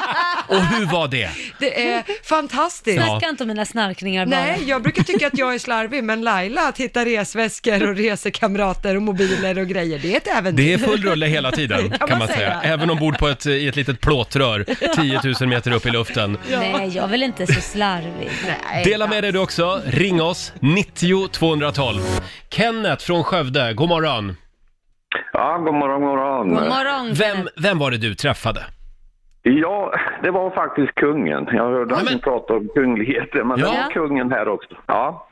Och hur var det? det är fantastiskt. Snacka inte om mina snarkningar bara. Nej, jag brukar tycka att jag är slarvig, men Laila att hitta resväskor och resekamrater och mobiler och grejer, det är ett äventyr. Det är full rulle hela tiden Kan kan man man säga. säga. Även ombord på ett, i ett litet plåtrör 10 000 meter upp i luften. Nej, jag är väl inte så slarvig. Nej. Dela med dig du också. Ring oss, 90 212. Kenneth från Skövde, god morgon. Ja, god morgon, god morgon. Vem, vem var det du träffade? Ja, det var faktiskt kungen. Jag hörde att ni pratade om kungligheter, men det Ja. var kungen här också. Ja.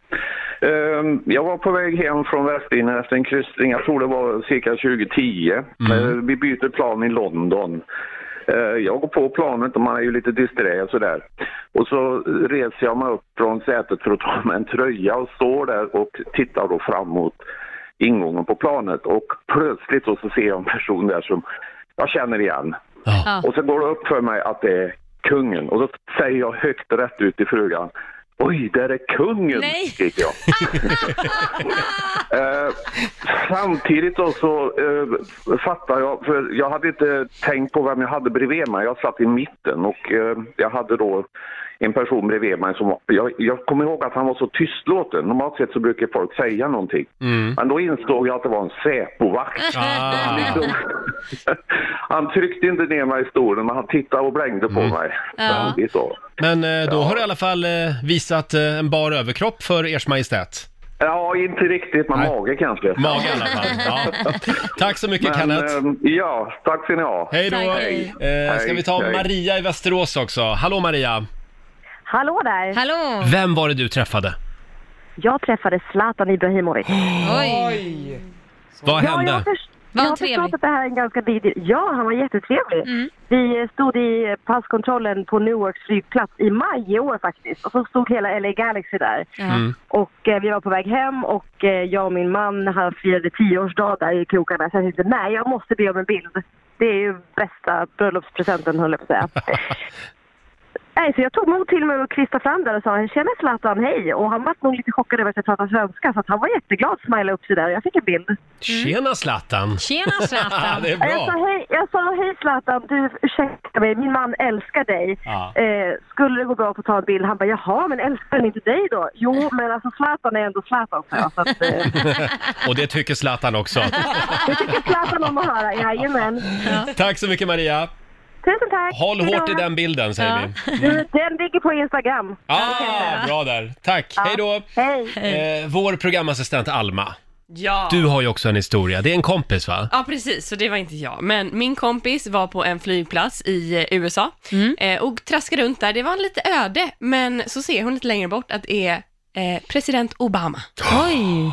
Ehm, Jag var på väg hem från Västindien efter en kryssning, jag tror det var cirka 2010. Ehm, Vi byter plan i London. Ehm, Jag går på planet och man är ju lite disträ och sådär. Och så reser jag mig upp från sätet för att ta med en tröja och står där och tittar då framåt ingången på planet och plötsligt då så ser jag en person där som jag känner igen. Och så går det upp för mig att det är kungen och då säger jag högt och rätt ut till frugan Oj, där är kungen! Nej. skriker jag. eh, samtidigt då så eh, fattar jag, för jag hade inte tänkt på vem jag hade bredvid mig. Jag satt i mitten och eh, jag hade då en person bredvid mig som var, jag, jag kommer ihåg att han var så tystlåten. Normalt sett så brukar folk säga någonting. Mm. Mm. Men då insåg jag att det var en Säpovakt. Ah. Liksom. han tryckte inte ner mig i stolen, men han tittade och blängde på mig. Ja. Väldigt så. Men eh, då har du i alla fall eh, visat eh, en bar överkropp för Ers Majestät. Ja, inte riktigt, men mage kanske. Mage i alla fall. Ja. Tack så mycket Men, Kenneth. ehm, Ja, tack ska ni ha. Hej då! Eh, ska Hej, vi ta hej. Maria i Västerås också? Hallå Maria! Hallå där! Hallå! Vem var det du träffade? Jag träffade Zlatan Ibrahimovic. Oj! Vad Ja, jag hände? har, först- jag har förstått att det här är en ganska bidig... Ja, han var jättetrevlig. Vi eh, stod i passkontrollen på Newarks flygplats i maj i år faktiskt. Och så stod hela LA Galaxy där. Mm. Och eh, vi var på väg hem och eh, jag och min man han firade tioårsdag där i krokarna. Så jag tänkte, nej jag måste be om en bild. Det är ju bästa bröllopspresenten höll jag på att säga. Nej, så jag tog mod till mig och kristade fram där och sa “Tjena Zlatan, hej!” och han var nog lite chockad över att jag pratade svenska så att han var jätteglad, smilade upp sig där och jag fick en bild. Tjena Zlatan! Tjena, Zlatan. det är Jag sa, bra! hej, jag sa hej Zlatan, du ursäkta mig, min man älskar dig. Ja. Eh, skulle det gå bra på att ta en bild? Han bara, jaha, men älskar han inte dig då? Jo, men alltså Zlatan är ändå Zlatan, sa jag. Så att, eh, Och det tycker Zlatan också. det tycker Zlatan om att höra, jajamän. Tack så mycket Maria! Tusen tack! Håll Hej då. hårt i den bilden säger vi. Du, Den ligger på Instagram. Ah, bra där. Tack, hej då! Hej! Eh, vår programassistent Alma, Ja. Du har ju också en historia. Det är en kompis va? Ja, precis. Så det var inte jag. Men min kompis var på en flygplats i eh, USA eh, och traskade runt där. Det var en lite öde, men så ser hon lite längre bort att det är eh, president Obama. Oj!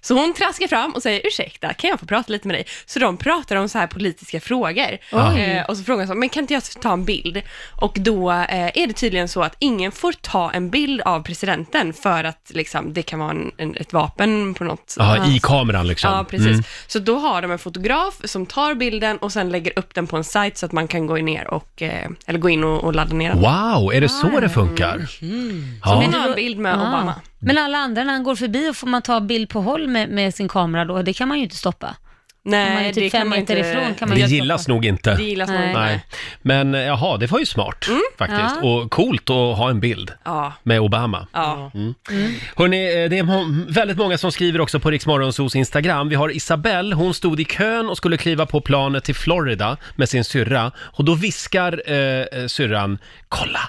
Så hon traskar fram och säger ursäkta, kan jag få prata lite med dig? Så de pratar om så här politiska frågor. Oj. Eh, och så frågar hon så, men kan inte jag ta en bild? Och då eh, är det tydligen så att ingen får ta en bild av presidenten för att liksom, det kan vara en, en, ett vapen på något Ja, i kameran liksom. Ja, precis. Mm. Så då har de en fotograf som tar bilden och sen lägger upp den på en sajt så att man kan gå ner och, eh, eller gå in och, och ladda ner den. Mm. Wow, är det så det funkar? Så Ja. hon har en bild med Obama. Ah. Men alla andra, när han går förbi och får man ta bild på håll med, med sin kamera då, det kan man ju inte stoppa. Nej, Om man är typ det fem kan man meter inte- ifrån kan man Det ju gillas nog inte. Det gillas nog Nej. inte. Men eh, jaha, det var ju smart faktiskt. Ja. Och coolt att ha en bild Ja. med Obama. Ja. Mm. Hörrni, eh, det är må- väldigt många som skriver också på Riksmorgonsos Instagram. Vi har Isabelle, hon stod i kön och skulle kliva på planet till Florida med sin syrra. Och då viskar eh, eh, syrran, kolla!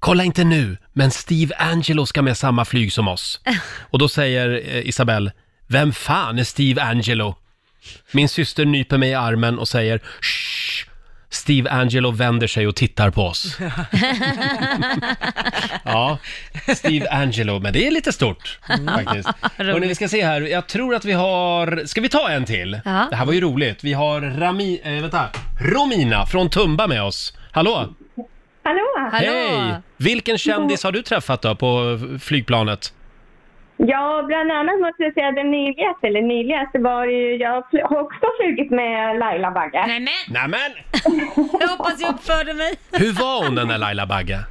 Kolla inte nu, men Steve Angelo ska med samma flyg som oss. Och då säger eh, Isabelle, vem fan är Steve Angelo? Min syster nyper mig i armen och säger, Shh! Steve Angelo vänder sig och tittar på oss. Ja, Steve Angelo, men det är lite stort Mm. faktiskt. Hörrni, vi ska se här, jag tror att vi har, ska vi ta en till? Ja. Det här var ju roligt. Vi har Rami, eh, vänta, Romina från Tumba med oss. Hallå! Hallå! Hej! Vilken kändis har du träffat då på flygplanet? Ja, bland annat måste jag säga den nyligaste, eller nyligaste var det ju, jag fl- har också flugit med Laila Bagge. Nej, men. Nämen! Jag hoppas jag uppförde mig. Hur var hon den där Laila Bagge?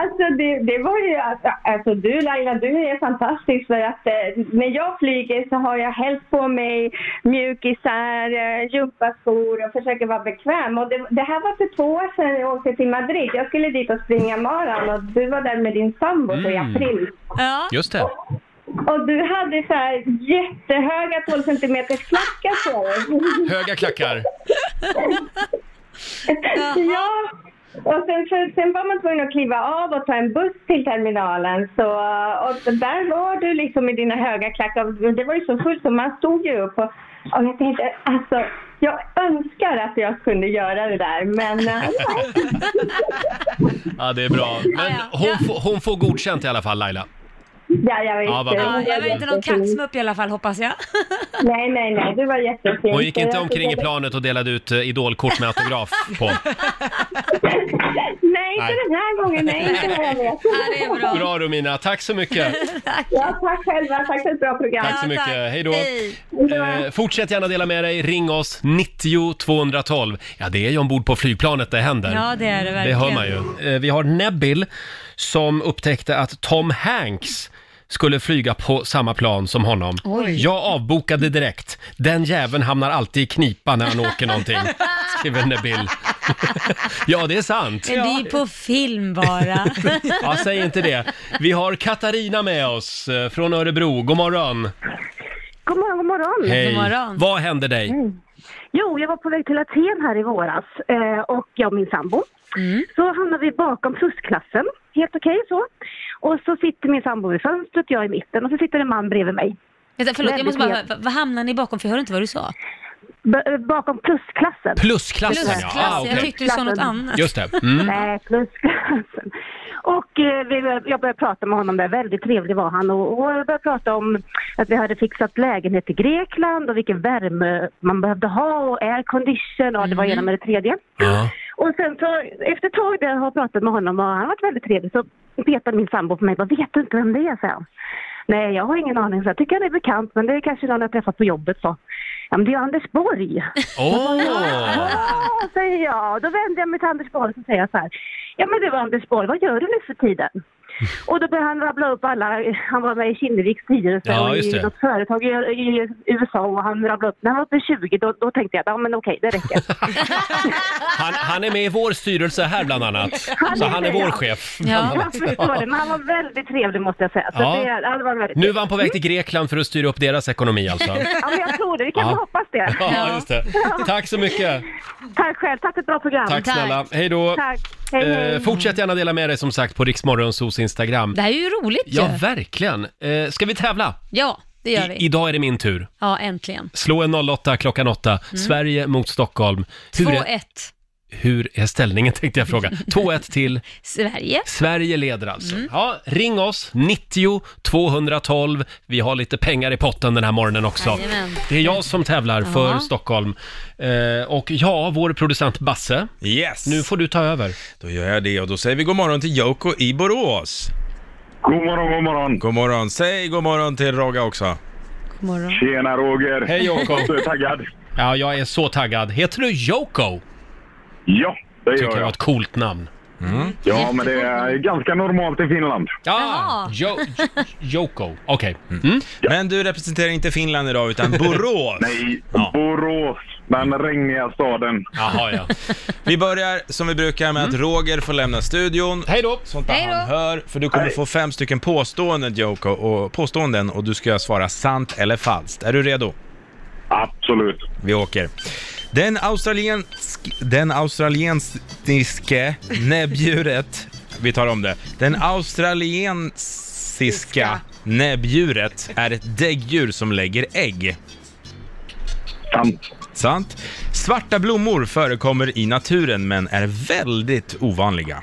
Alltså det, det var ju, alltså, alltså du Laila, du är fantastisk för att eh, när jag flyger så har jag hällt på mig mjukisar, eh, gympaskor och försöker vara bekväm. Och det, det här var för två år sedan jag åkte till Madrid. Jag skulle dit och springa maran och du var där med din sambo så i Mm. april. Just det. Och du hade så här jättehöga 12 cm klackar på dig. Höga klackar. ja. Och sen, för, sen var man tvungen att kliva av och ta en buss till terminalen. Så, och där var du liksom i dina höga klackar. Och Det var ju så fullt så man stod ju upp. Och, och jag tänkte, alltså, jag önskar att jag kunde göra det där. Men eh, Ja, det är bra. Men hon, får- hon får godkänt i alla fall, Laila. ja, jag vet Ja, vad bra. Ja, jag var inte någon kaxmupp i alla fall hoppas jag. Nej, nej, nej. Du var jättefin. Hon gick Så inte jag omkring i tycker- planet och delade ut eh, idolkort med autograf på. Nej, inte Nej. den här gången. Nej, inte vad jag vet. det är bra. Bra Romina, tack så mycket. Ja, tack själva. Tack för ett bra program. Tack så mycket, hej då. Eh, fortsätt gärna dela med dig, ring oss 90 212. Ja, det är ju ombord på flygplanet det händer. Ja, det är det Det verkligen. hör man ju. Eh, Vi har Nebbil som upptäckte att Tom Hanks skulle flyga på samma plan som honom. Oj. Jag avbokade direkt. Den jäveln hamnar alltid i knipa när han åker någonting, skriver Nebbil. ja, det är sant. Men det är ju på film bara. Ja, säg inte det. Vi har Katarina med oss eh, från Örebro. God morgon. God morgon, god Mm, morgon. Hej. Vad hände dig? Mm, Jo, jag var på väg till Aten här i våras eh, och jag och min sambo. Mm. Så hamnade vi bakom plusklassen, helt okej så. Och så sitter min sambo vid fönstret, jag i mitten och så sitter en man bredvid mig. Vänta, förlåt, jag måste bara, Väldigt vad- vad hamnar ni bakom? För jag hörde inte vad du sa. B- eh, bakom plusklassen. Plusklassen, ja. Plusklassen, Ah, okej. jag tyckte du sa något annat. Just det. Mm. Nej, plusklassen. Och eh, vi, bör- jag började prata med honom där, väldigt trevlig var han. Och, och jag började prata om att vi hade fixat lägenhet i Grekland och vilken värme man behövde ha och aircondition och det var ena med det tredje. Och sen så, efter ett tag där har jag pratat med honom och han har varit väldigt trevlig så petade min sambo på mig bara, vet du inte vem det är? Så Nej, jag har ingen aning. Så jag tycker han är bekant men det är kanske någon jag träffat på jobbet. Så. Ja, men det är ju Anders Borg. Åh! Ja, säger jag. Då vänder jag mig till Anders Borg och säger jag så här. Ja, men du Anders Borg, vad gör du nu för tiden? Och då började han rabbla upp alla, han var med i Kinneviks styrelse Ja, och just i det. något företag i, i USA och han rabblade upp, när han var uppe i 20 då, då tänkte jag, ja men okej, det räcker. Han, han är med i vår styrelse här bland annat. Så han är vår chef. Ja, jag förstår det. Men han var väldigt trevlig måste jag säga. Så Ja. det, han var väldigt Nu var han på väg till Grekland för att styra upp deras ekonomi alltså. Ja, men jag tror det. Vi kan Ja. väl hoppas det. Ja, just det. Tack så mycket. Tack själv. Tack för ett bra program. Tack snälla. Hej då. Tack. Hej, hej. Eh, fortsätt gärna dela med dig som sagt på Riksmorgonsos Instagram. Det här är ju roligt Ja, ju. verkligen. Eh, ska vi tävla? Ja, det gör vi. Idag är det min tur. Ja, äntligen. Slå en 08 klockan 8. Mm. Sverige mot Stockholm. Hur är, 2-1 hur är ställningen tänkte jag fråga. 2-1 till? Sverige. Sverige leder alltså. Mm. Ja, ring oss, 90 212. Vi har lite pengar i potten den här morgonen också. Jajamän. Det är jag som tävlar för Ja. Stockholm. Eh, och ja, vår producent Basse. Yes. Nu får du ta över. Då gör jag det och då säger vi god morgon till Joko i Borås. God morgon, god morgon. God morgon. Säg god morgon till Rogga också. God morgon. Tjena Roger! Hej Joko! Så är jag taggad. Ja, jag är så taggad. Heter du Joko? Ja, det gör Tycker jag. det Mm. var ett coolt namn. Ja, men det är ganska normalt i Finland. Ja, jo, Joko. Okej. Mm. Mm. Men du representerar inte Finland idag utan Borås. Nej, Borås. Den regniga staden. Mm. Jaha, ja. Vi börjar som vi brukar med att Roger får lämna studion. Hej då! Sånt där Hej då. han Alltså- hör. För du kommer Hej. få fem stycken påståenden Joko, och, påståenden och du ska svara sant eller falskt. Är du redo? Absolut. Vi åker. Den, australiensk, den australiensiske näbbdjuret, vi tar om det. Den australiensiska näbbdjuret är ett däggdjur som lägger ägg. Sant. Sant. Svarta blommor förekommer i naturen men är väldigt ovanliga.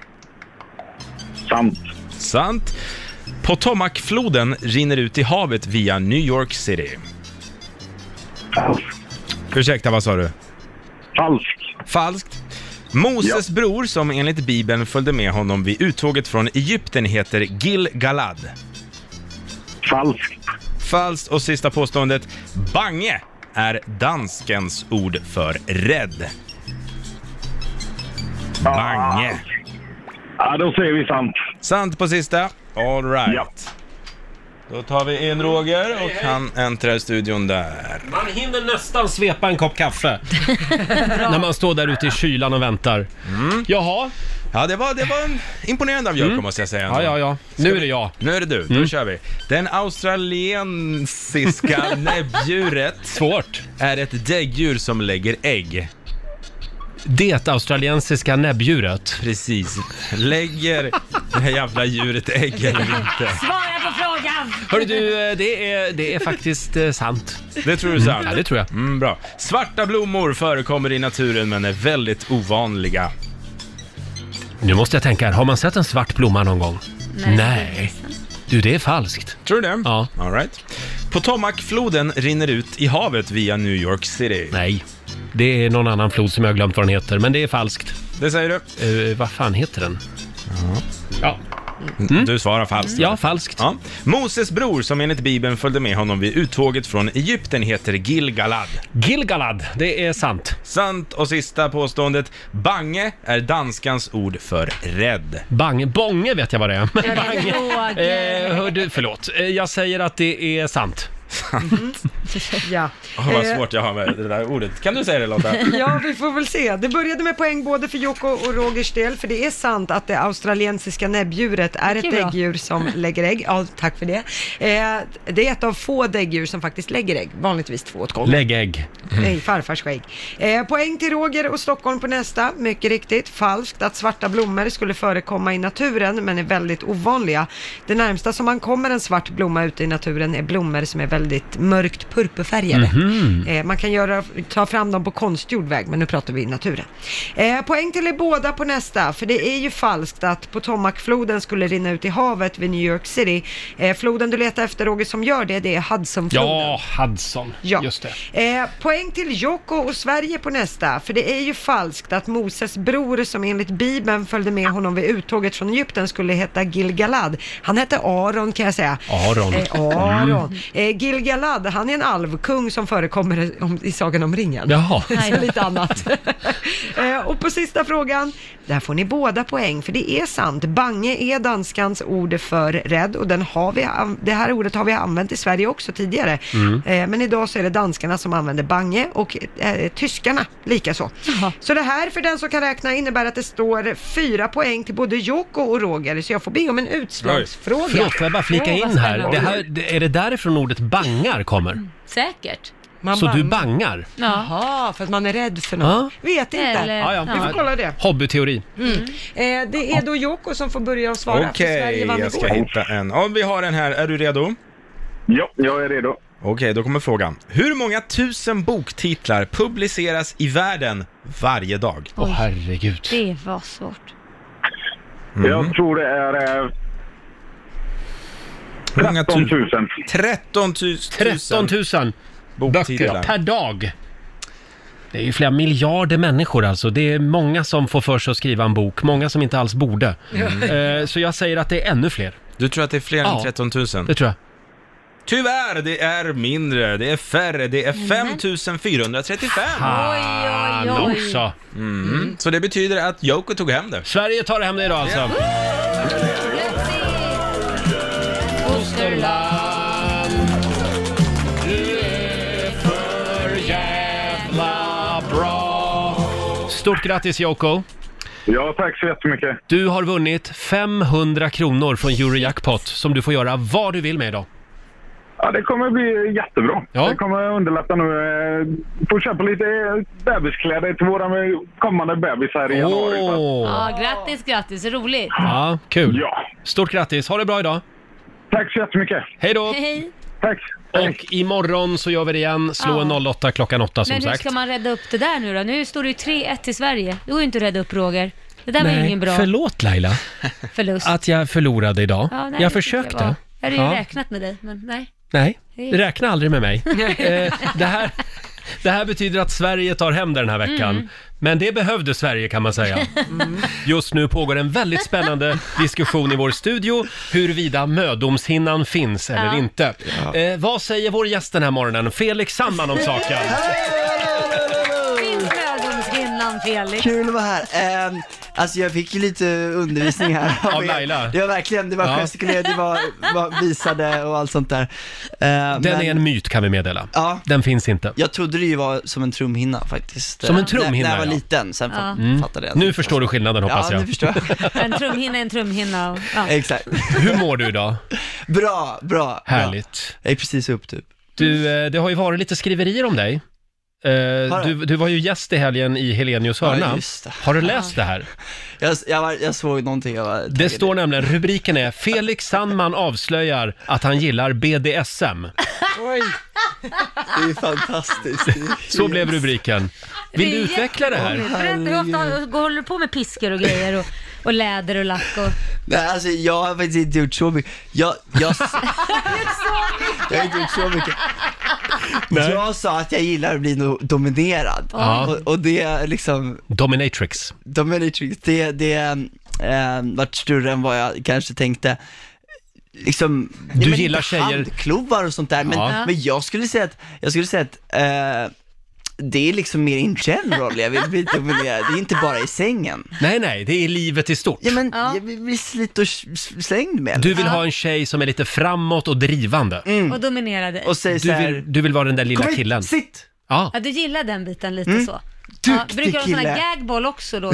Sant. Sant. Potomacfloden rinner ut i havet via New York City. Ursäkta, vad sa du? Falskt. Falskt. Moses bror, som enligt Bibeln följde med honom vid uttåget från Egypten, heter Gil Galad. Falskt. Falskt. Och sista påståendet. Bange är danskens ord för rädd. Bange. Ah. Ja, då säger vi sant. Sant på sista. All right. Då tar vi in Roger och han äntrar studion där. Man hinner nästan svepa en kopp kaffe. När man står där ute i kylan och väntar. Jaha. Mm. Mm. Ja, det var, det var en imponerande av Jocke måste jag säga. ändå. Ja, ja, ja. Ska Nu vi- är det jag. Mm. Nu är det du, då kör vi. Den australiensiska näbbdjuret Svårt. är ett däggdjur som lägger ägg. Det australiensiska näbbdjuret. Precis. Lägger det här jävla djuret ägg eller inte? Svara på frågan! Hörru du, eh, det är, det är faktiskt eh, sant. Det tror du är sant? Ja, det tror jag. Mm, bra. Svarta blommor förekommer i naturen men är väldigt ovanliga. Nu måste jag tänka här, har man sett en svart blomma någon gång? Nej. Du, det är falskt. Tror du det? Ja. All right. Potomacfloden rinner ut i havet via New York City. Nej. Det är någon annan flod som jag har glömt vad den heter, men det är falskt. Det säger du. Eh, vad fan heter den? Ja. Mm. Du svarar falskt. Ja, falskt. Ja. Moses bror, som enligt Bibeln följde med honom vid uttåget från Egypten, heter Gilgalad. Gilgalad, det är sant. Sant. Och sista påståendet. Bange är danskans ord för rädd. Bang, bånge vet jag vad det är. Jag vet, Bange. Roger. Eh, hör du, förlåt. Eh, jag säger att det är sant. Ja. Oh, vad Eh, svårt jag har med det där ordet. Kan du säga det Lotta? Ja, vi får väl se. Det började med poäng både för Jocko och Rogers del, för det är sant att det australiensiska näbbdjuret är ett Mycket bra. däggdjur som lägger ägg. Ja, tack för det. Eh, det är ett av få däggdjur som faktiskt lägger ägg, vanligtvis två åt gången. Lägg ägg. Mm. Nej, farfars skägg. Eh, poäng till Roger och Stockholm på nästa. Mycket riktigt, falskt att svarta blommor skulle förekomma i naturen men är väldigt ovanliga. Det närmsta som man kommer en svart blomma ute i naturen är blommor som är väldigt mörkt purpurfärgade. Mhm. Eh, man kan göra, ta fram dem på konstgjord väg, men nu pratar vi i naturen. Eh, poäng till er båda på nästa, för det är ju falskt att Potomacfloden skulle rinna ut i havet vid New York City. Eh, floden du letar efter Roger som gör det, det är Hudsonfloden. Ja, Hudson. Ja. Just det. Eh, poäng till Jocko och Sverige på nästa, för det är ju falskt att Moses bror som enligt Bibeln följde med honom vid uttåget från Egypten skulle heta Gilgalad. Han hette Aron kan jag säga. Aron. Eh, Aron. Eh, Gilgalad, han är en alvkung som förekommer i- om, i Sagan om ringen. Jaha. Så lite annat. eh, och på sista frågan, där får ni båda poäng, för det är sant. Bange är danskans ord för rädd och den har vi, an- det här ordet har vi använt i Sverige också tidigare. Mm. Eh, men idag så är det danskarna som använder bange och eh, tyskarna likaså. Så det här för den som kan räkna innebär att det står fyra poäng till både Jocko och Roger, så jag får be om en utslagsfråga. Förlåt, får jag bara flika in här? Det här det, är det därifrån ordet bangar kommer? Säkert. Så du bangar? Jaha, för att man är rädd för något. Vet inte. Eller- Ja, ja. Vi får kolla det. Hobbyteori. Mm. Eh, det är då Jocko som får börja att svara, för Okej, Sverige vann jag ska igår. hitta en. Ja, vi har en här. Är du redo? Ja, jag är redo. Okej, då kommer frågan. Hur många tusen boktitlar publiceras i världen varje dag? Åh, Oj. herregud. Det var svårt. Mm. Jag tror det är... eh, 13 000. 13 000. 13 000 boktitlar. böcker per dag. Det är ju flera miljarder människor alltså. Det är många som får för sig att skriva en bok, många som inte alls borde. Mm. Eh, Så jag säger att det är ännu fler. Du tror att det är fler Ja. än 13 000? Det tror jag. Tyvärr, det är mindre, det är färre, det är 5435! Fan oj, oj. också! Mm. Så det betyder att Joko tog hem det. Sverige tar hem det idag alltså. Fosterland, du är för jävla bra. Stort grattis Joko! Ja, tack så jättemycket. Du har vunnit 500 kronor från Eurojackpot som du får göra vad du vill med idag. Ja, det kommer bli jättebra. Ja. Det kommer underlätta nu. eh, Får köpa lite eh, bebiskläder till våra eh, kommande bebisar i januari. så att- Ja, grattis, grattis. Roligt. Ja, kul. Stort grattis, ha det bra idag. Tack så jättemycket. Hej då! Hej. Tack. Och imorgon så gör vi det igen, slå Ja. en 08 klockan 8 som Men hur sagt. ska man rädda upp det där nu då? Nu står det ju 3-1 till Sverige. Det går ju inte att rädda upp Roger. Det där var ju ingen bra förlåt Laila förlust. att jag förlorade idag. Ja, nej, det jag tycker försökte. var- Jag hade ju Ja. räknat med dig, men nej. Nej, Nej. räkna aldrig med mig. Eh, det, här, det här betyder att Sverige tar hem det den här veckan. Mm. Men det behövde Sverige kan man säga. Just nu pågår en väldigt spännande diskussion i vår studio huruvida mödomshinnan finns eller Ja. inte. Eh, vad säger vår gäst den här morgonen, Felix Sandman om saken? Finns mödomshinnan Felix? Kul att vara här. Ehm, alltså jag fick ju lite undervisning här. Av er. Laila. Ja verkligen, det var Ja. gestikulerade, det var, var visade och allt sånt där. den Den är en myt kan vi meddela. Ja. Den finns inte. Jag trodde det ju var som en trumhinna faktiskt. Som en När- trumhinna, När jag var ja. liten, sen Ja. fa- Mm. fattade jag. Nu förstår du skillnaden hoppas Ja, jag. nu förstår jag. En trumhinna är en trumhinna och, ja. Exakt. Hur mår du idag? Bra, bra. Härligt. Jag är precis upp typ. Du, eh, det har ju varit lite skriverier om dig. Eh, det? Du, du var ju gäst i helgen i Helenius Ja, hörna. just det. Har du läst det här? Jag, jag, var, jag såg någonting, jag var Det taggad. står nämligen, rubriken är Felix Sandman avslöjar att han gillar BDSM. Oj. Det är fantastiskt. Det är- Så blev rubriken. Vill du utveckla det här? Berätta, hur ofta har- håller du på med piskor och grejer och, och läder och lack och... Nej, alltså jag har faktiskt inte gjort så mycket. Jag, jag, jag har inte gjort så mycket. Jag sa att jag gillar att bli no- dominerad. Ja. Och, och det är liksom... Dominatrix. Dominatrix, det, det eh, vart större än vad jag kanske tänkte. Liksom, du gillar tjejer- Handklovar och sånt där, men, Ja. men jag skulle säga att, jag skulle säga att eh, det är liksom mer in general jag vill bli dominerad, det är inte bara i sängen. Nej, nej, det är livet i stort. Ja men, jag vill bli slit och s- s- slängd med. Du vill ha en tjej som är lite framåt och drivande. Mm. och dominera dig. Du vill, du vill vara den där lilla "Kom hit, killen. sitt!" Ja. Ja, du gillar den biten lite Mm. så. Ja, brukar du ha sån här kille. gagboll också då?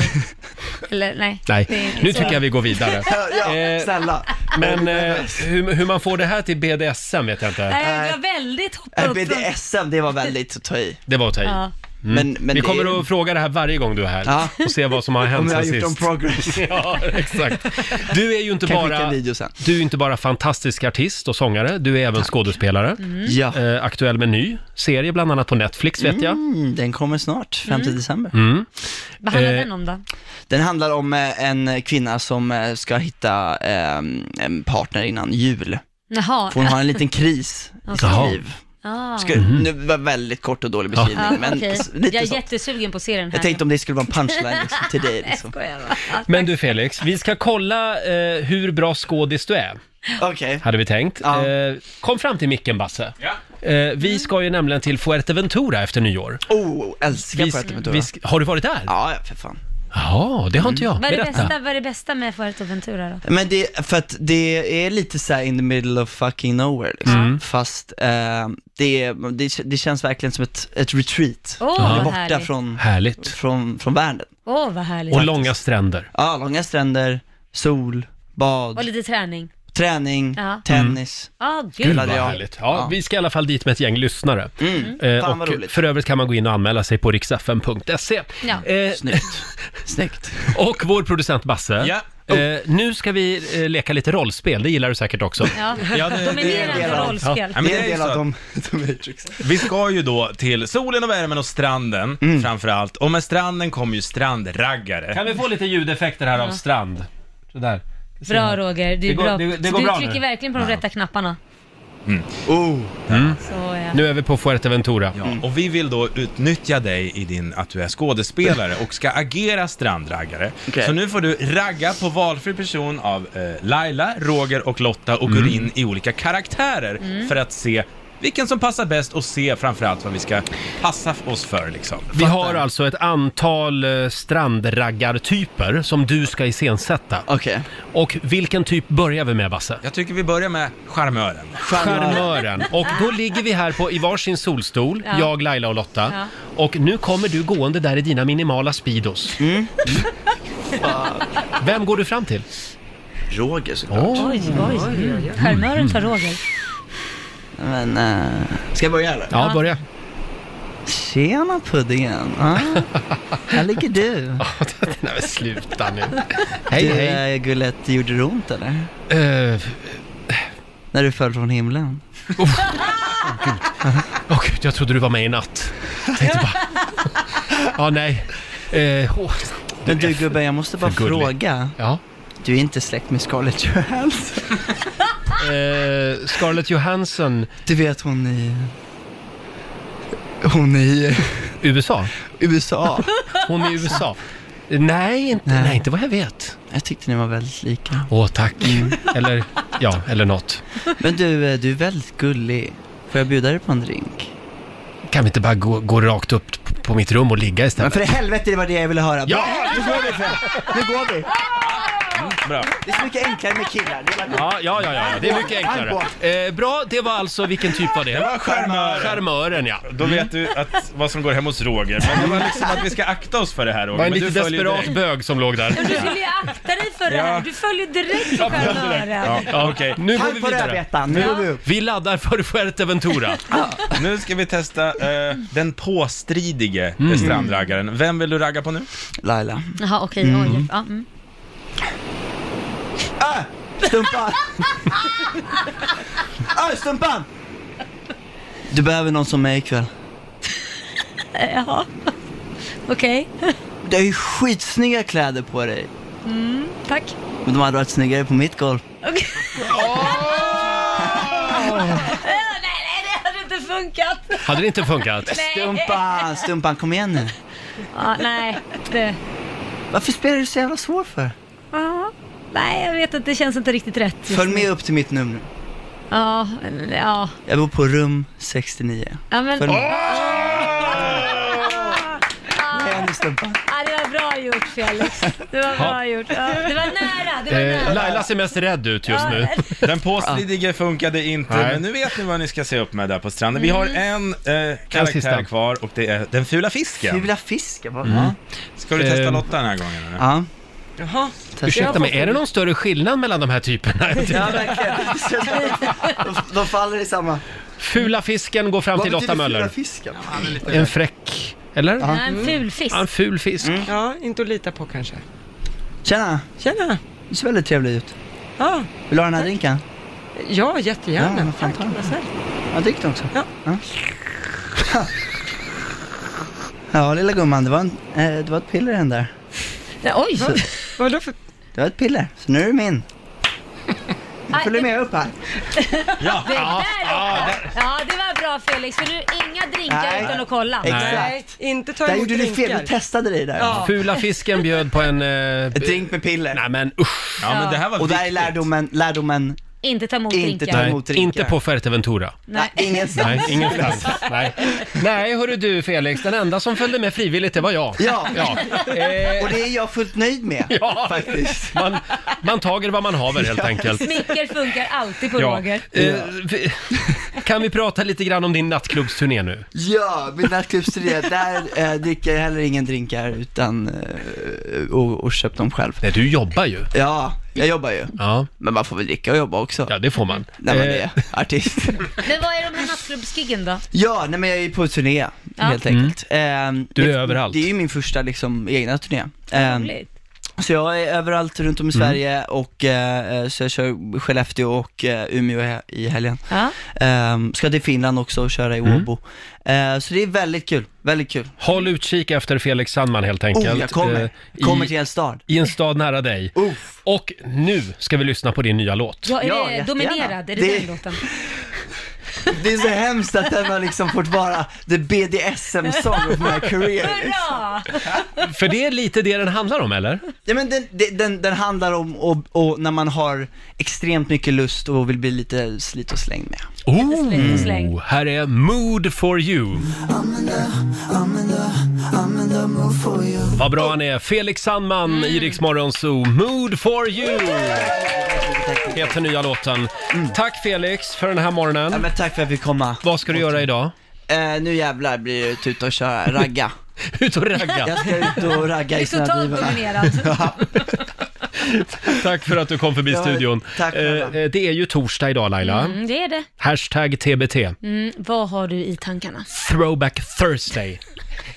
Eller nej? Nej, det är inte nu så. tycker jag vi går vidare. Eh, snälla. Men eh, hur, hur man får det här till BDSM vet jag inte. Nej, eh, jag var väldigt hoppa Äh, upp. från- BDSM, det var väldigt att ta i. Det var att ta i. Ja. Mm. Men- men vi det kommer är- att fråga det här varje gång du är här Ja. och se vad som har hänt Om jag sen har sist. gjort någon progress. ja, exakt. Du är ju inte Kan skicka bara, en video sen. du är ju inte bara fantastisk artist och sångare, du är även skådespelare. Mm. Ja. Eh, aktuell med ny serie, bland annat på Netflix vet jag. Mm, den kommer snart, 5 Mm. december. Mm. Vad handlar Eh, den om då? Den handlar om eh, en kvinna som eh, ska hitta eh, en partner innan jul. Jaha. För hon har en liten kris i Jaha. sitt liv. Ah. Ska, Mhm. nu var det väldigt kort och dålig beskrivning, Ja, men okej. s- lite jag är så. jättesugen på att se den här. Jag tänkte om det skulle vara en punchline liksom, till dig. Nej, jag Liksom. skojar bara. Men du Felix, vi ska kolla eh, hur bra skådis du är. Okej. Hade vi tänkt. Eh, kom fram till micken Basse. Eh, vi ska ju nämligen till Fuerteventura efter nyår. Oh, älskar Vi- Fuerteventura. vi sk- Har du varit där? Ja, för fan. Ja, det har inte jag. Vad är det Berätta. bästa, vad är det bästa med Fuerteventura då? Mm. Men det, för att det är lite så här in the middle of fucking nowhere liksom. Mm. Fast eh, det, är- det, det känns verkligen som ett, ett retreat. Åh, Man är vad borta härligt. från, Härligt. Från, från världen. Åh, vad härligt. långa stränder. Ja, långa stränder, sol, bad, Och lite träning. träning, Ja. tennis. Ah, gud. Gud vad härligt. Ja, Vi ska i alla fall dit med ett gäng lyssnare. Eh, Mm. Fan, vad och roligt. för övrigt kan man gå in och anmäla sig på riksfn.se. Ja. Eh, Snyggt. Snyggt. Eh, Och vår producent Basse. Eh, nu ska vi eh, leka lite rollspel, det gillar du säkert också. Ja. Dominerande rollspel. Ja, men det är ju så att- Vi ska ju då till solen och värmen och stranden framför allt. Och med stranden kommer ju strandraggare. Kan vi få lite ljudeffekter här av Ja. strand? Sådär. Bra Roger, du är Det går- bra. det- det går du bra trycker nu. verkligen på de rätta knapparna. Oh. Mm. Så, eh. ja. Nu är vi på Fuerteventura. Och vi vill då utnyttja dig i din, att du är skådespelare och ska agera strandraggare. Så nu får du ragga på valfri person av eh, Laila, Roger och Lotta och går in i olika karaktärer Mm. för att se vilken som passar bäst och se framförallt vad vi ska passa oss för liksom. Vi har alltså ett antal eh, strandraggartyper som du ska iscensätta. Okej. Och vilken typ börjar vi med, Basse? Jag tycker vi börjar med charmören. Charmören. Och då ligger vi här på, i varsin solstol, Ja. jag, Laila och Lotta. Ja. Och nu kommer du gående där i dina minimala Speedos. Mm. Vem går du fram till? Roger såklart. Oj, oj, oj. Charmören tar Roger. Men, eh, ska jag börja eller? Ja, börja. Tjena puddingen. Ah, här ligger du. Nej men sluta nu. Hej, du, hej. Eh, eh, Gullet, det gjorde det ont eller? När du föll från himlen? Åh gud, jag trodde du var med i natt. Jag tänkte bara... Ja, nej. Eh, åh, Men du gubben, jag måste bara för gullig. fråga. Ja? Du är inte släkt med Scarlett Johansson? eh, Scarlett Johansson. Du vet hon i... Hon i... USA? USA. Hon är i USA. Nej, inte, nej. inte vad jag vet. Jag tyckte ni var väldigt lika. Mm. Åh, tack. Eller, ja, eller något. Men du, eh, du är väldigt gullig. Får jag bjuda dig på en drink? Kan vi inte bara gå, gå rakt upp p- på mitt rum och ligga Men istället? för i helvete, det var det jag ville höra. Ja! Bra, Nu går vi för Nu går vi. Bra. Det är så mycket enklare med killar. Det är bara- Ja, ja, ja, ja, det är mycket enklare. Eh, bra, det var alltså, vilken typ var det? Det var charmören. Charmören, ja. Då vet du att, vad som går hem hos Roger. Men det var liksom att vi ska akta oss för det här Roger. Det var en men lite du följer desperat direkt. bög som låg där. Men Du skulle ju akta dig för det här. Du följer direkt på charmören. Ja, okej. Nu går Tack vi för vidare. rödbetan, nu går vi upp. Vi laddar för Fuerteventura. Nu ska vi testa eh, den påstridige Mm. eh, strandraggaren. Vem vill du ragga på nu? Laila. Jaha, okej. Oj. Ja, mm. Ah, Stumpan! ah, stumpan! Du behöver någon som mig ikväll. Jaha. Okej. Du har ju skitsnygga kläder på dig. Mm, tack. Men de hade varit snyggare på mitt golv. Okej. Nej, nej, det hade inte funkat. Hade det inte funkat? Stumpan, stumpan kom igen nu. Ja, nej, det... Varför spelar du så jävla svår för? Ja. Nej, jag vet inte. Det känns inte riktigt rätt. just Följ nu. med upp till mitt nummer. Ja, ja. Jag bor på rum 69. Ja, men... Följ med. Ah, Kom igen nu, stumpan. ah, det var bra gjort Felix. Det var bra Ja. gjort. Ja, det var nära. Det var Eh, nära. Laila ser mest rädd ut just nu. Den påstridige funkade inte, Nej. men nu vet ni vad ni ska se upp med där på stranden. Vi Mm. har en eh, sista. karaktär kvar och det är den fula fisken. Fula fisken, vad Mm. Ska du testa Eh, Lotta den här gången eller? Ja. Jaha. Ursäkta mig, är det någon större skillnad mellan de här typerna? Ja, verkligen. De- De faller i samma... Fula fisken går fram till Lotta Möller. fisken? En fräck, eller? Ja, en ful fisk. Ja, en ful fisk. Mm. Ja, inte att lita på kanske. Tjena! Tjena! Du ser väldigt trevlig ut. Ja, Vill du ha den här drinken? ja jättegärna. Ja, vad fan, Tack, vad snällt. Ja, drick den också. Ja. ja. lilla gumman, det var, en, eh, det var ett piller i den där. Nej, oj! Så, Vadå för... det var ett piller, så nu är du min. Nu följer du med upp här. Ja. Det, där, ja, det var bra Felix, för nu inga drinkar Nej. utan att kolla. Exakt. Nej, inte ta Där emot gjorde du fel, drinkar. du testade dig där. Ja. Fula fisken bjöd på en... Eh, drink med piller. Nej men usch. Ja, men det här var Och där är viktigt. lärdomen, lärdomen Inte ta emot Inte drinkar. ta Nej, emot drinkar. inte på Fuerteventura. Nej, ingenstans. Nej, ingenstans. Nej. Nej, hörru du Felix, den enda som följde med frivilligt, det var jag. Ja. ja. Eh, Och det är jag fullt nöjd med Ja. faktiskt. Man, man tager vad man haver helt enkelt. Smicker funkar alltid på Ja. Roger. Eh, vi- kan vi prata lite grann om din nattklubbsturné nu? Ja, vid nattklubbsturné, där eh, dricker jag heller ingen drinkar utan eh, och, och köper dem själv. Nej, du jobbar ju. Ja, Jag jobbar ju. Men man får väl dricka och jobba också. Ja, det får man. Eh. När man är artist. Men vad är de här nattklubbsgiggen då? Ja, nej men jag är på turné Ja. helt enkelt. Ehm, Mm. Du är det, överallt. Det är ju min första liksom egna turné. Ehm, Roligt. så jag är överallt runt om i Mm. Sverige och eh, så jag kör Skellefteå och eh, Umeå he- i helgen. Ja. Ehm, ska till Finland också och köra i Mm. Åbo. Eh, så det är väldigt kul, väldigt kul. Håll utkik efter Felix Sandman helt enkelt. Oh, jag kommer. Eh, Kommer till en stad. I en stad nära dig. Och nu ska vi lyssna på din nya låt. Ja, är Ja, det jättegärna. dominerad? Är det, Det- den låten? Det är så hemskt att den har liksom fått vara the BDSM song of my career. Hurra! För det är lite det den handlar om, eller? Ja, men den, den- den, den handlar om och, och när man har extremt mycket lust och vill bli lite slit och slängd med. Oh, här är Mood for you. Vad bra han är. Felix Sandman i Rix Morgon Zoo. Mood for you heter nya låten. Tack Felix för den här morgonen. Mm. Ja, men tack för att vi fick komma. Vad ska du göra idag? Eh, nu jävlar blir det ut ute och köra, ragga. ut och ragga? Jag ska ut och ragga Du är i totalt snödrivorna. dominerad. Tack för att du kom förbi Ja, studion. tack, Eh, eh, det är ju torsdag idag Laila. Mm, det är det. Hashtag TBT. Mm, vad har du i tankarna? Throwback Thursday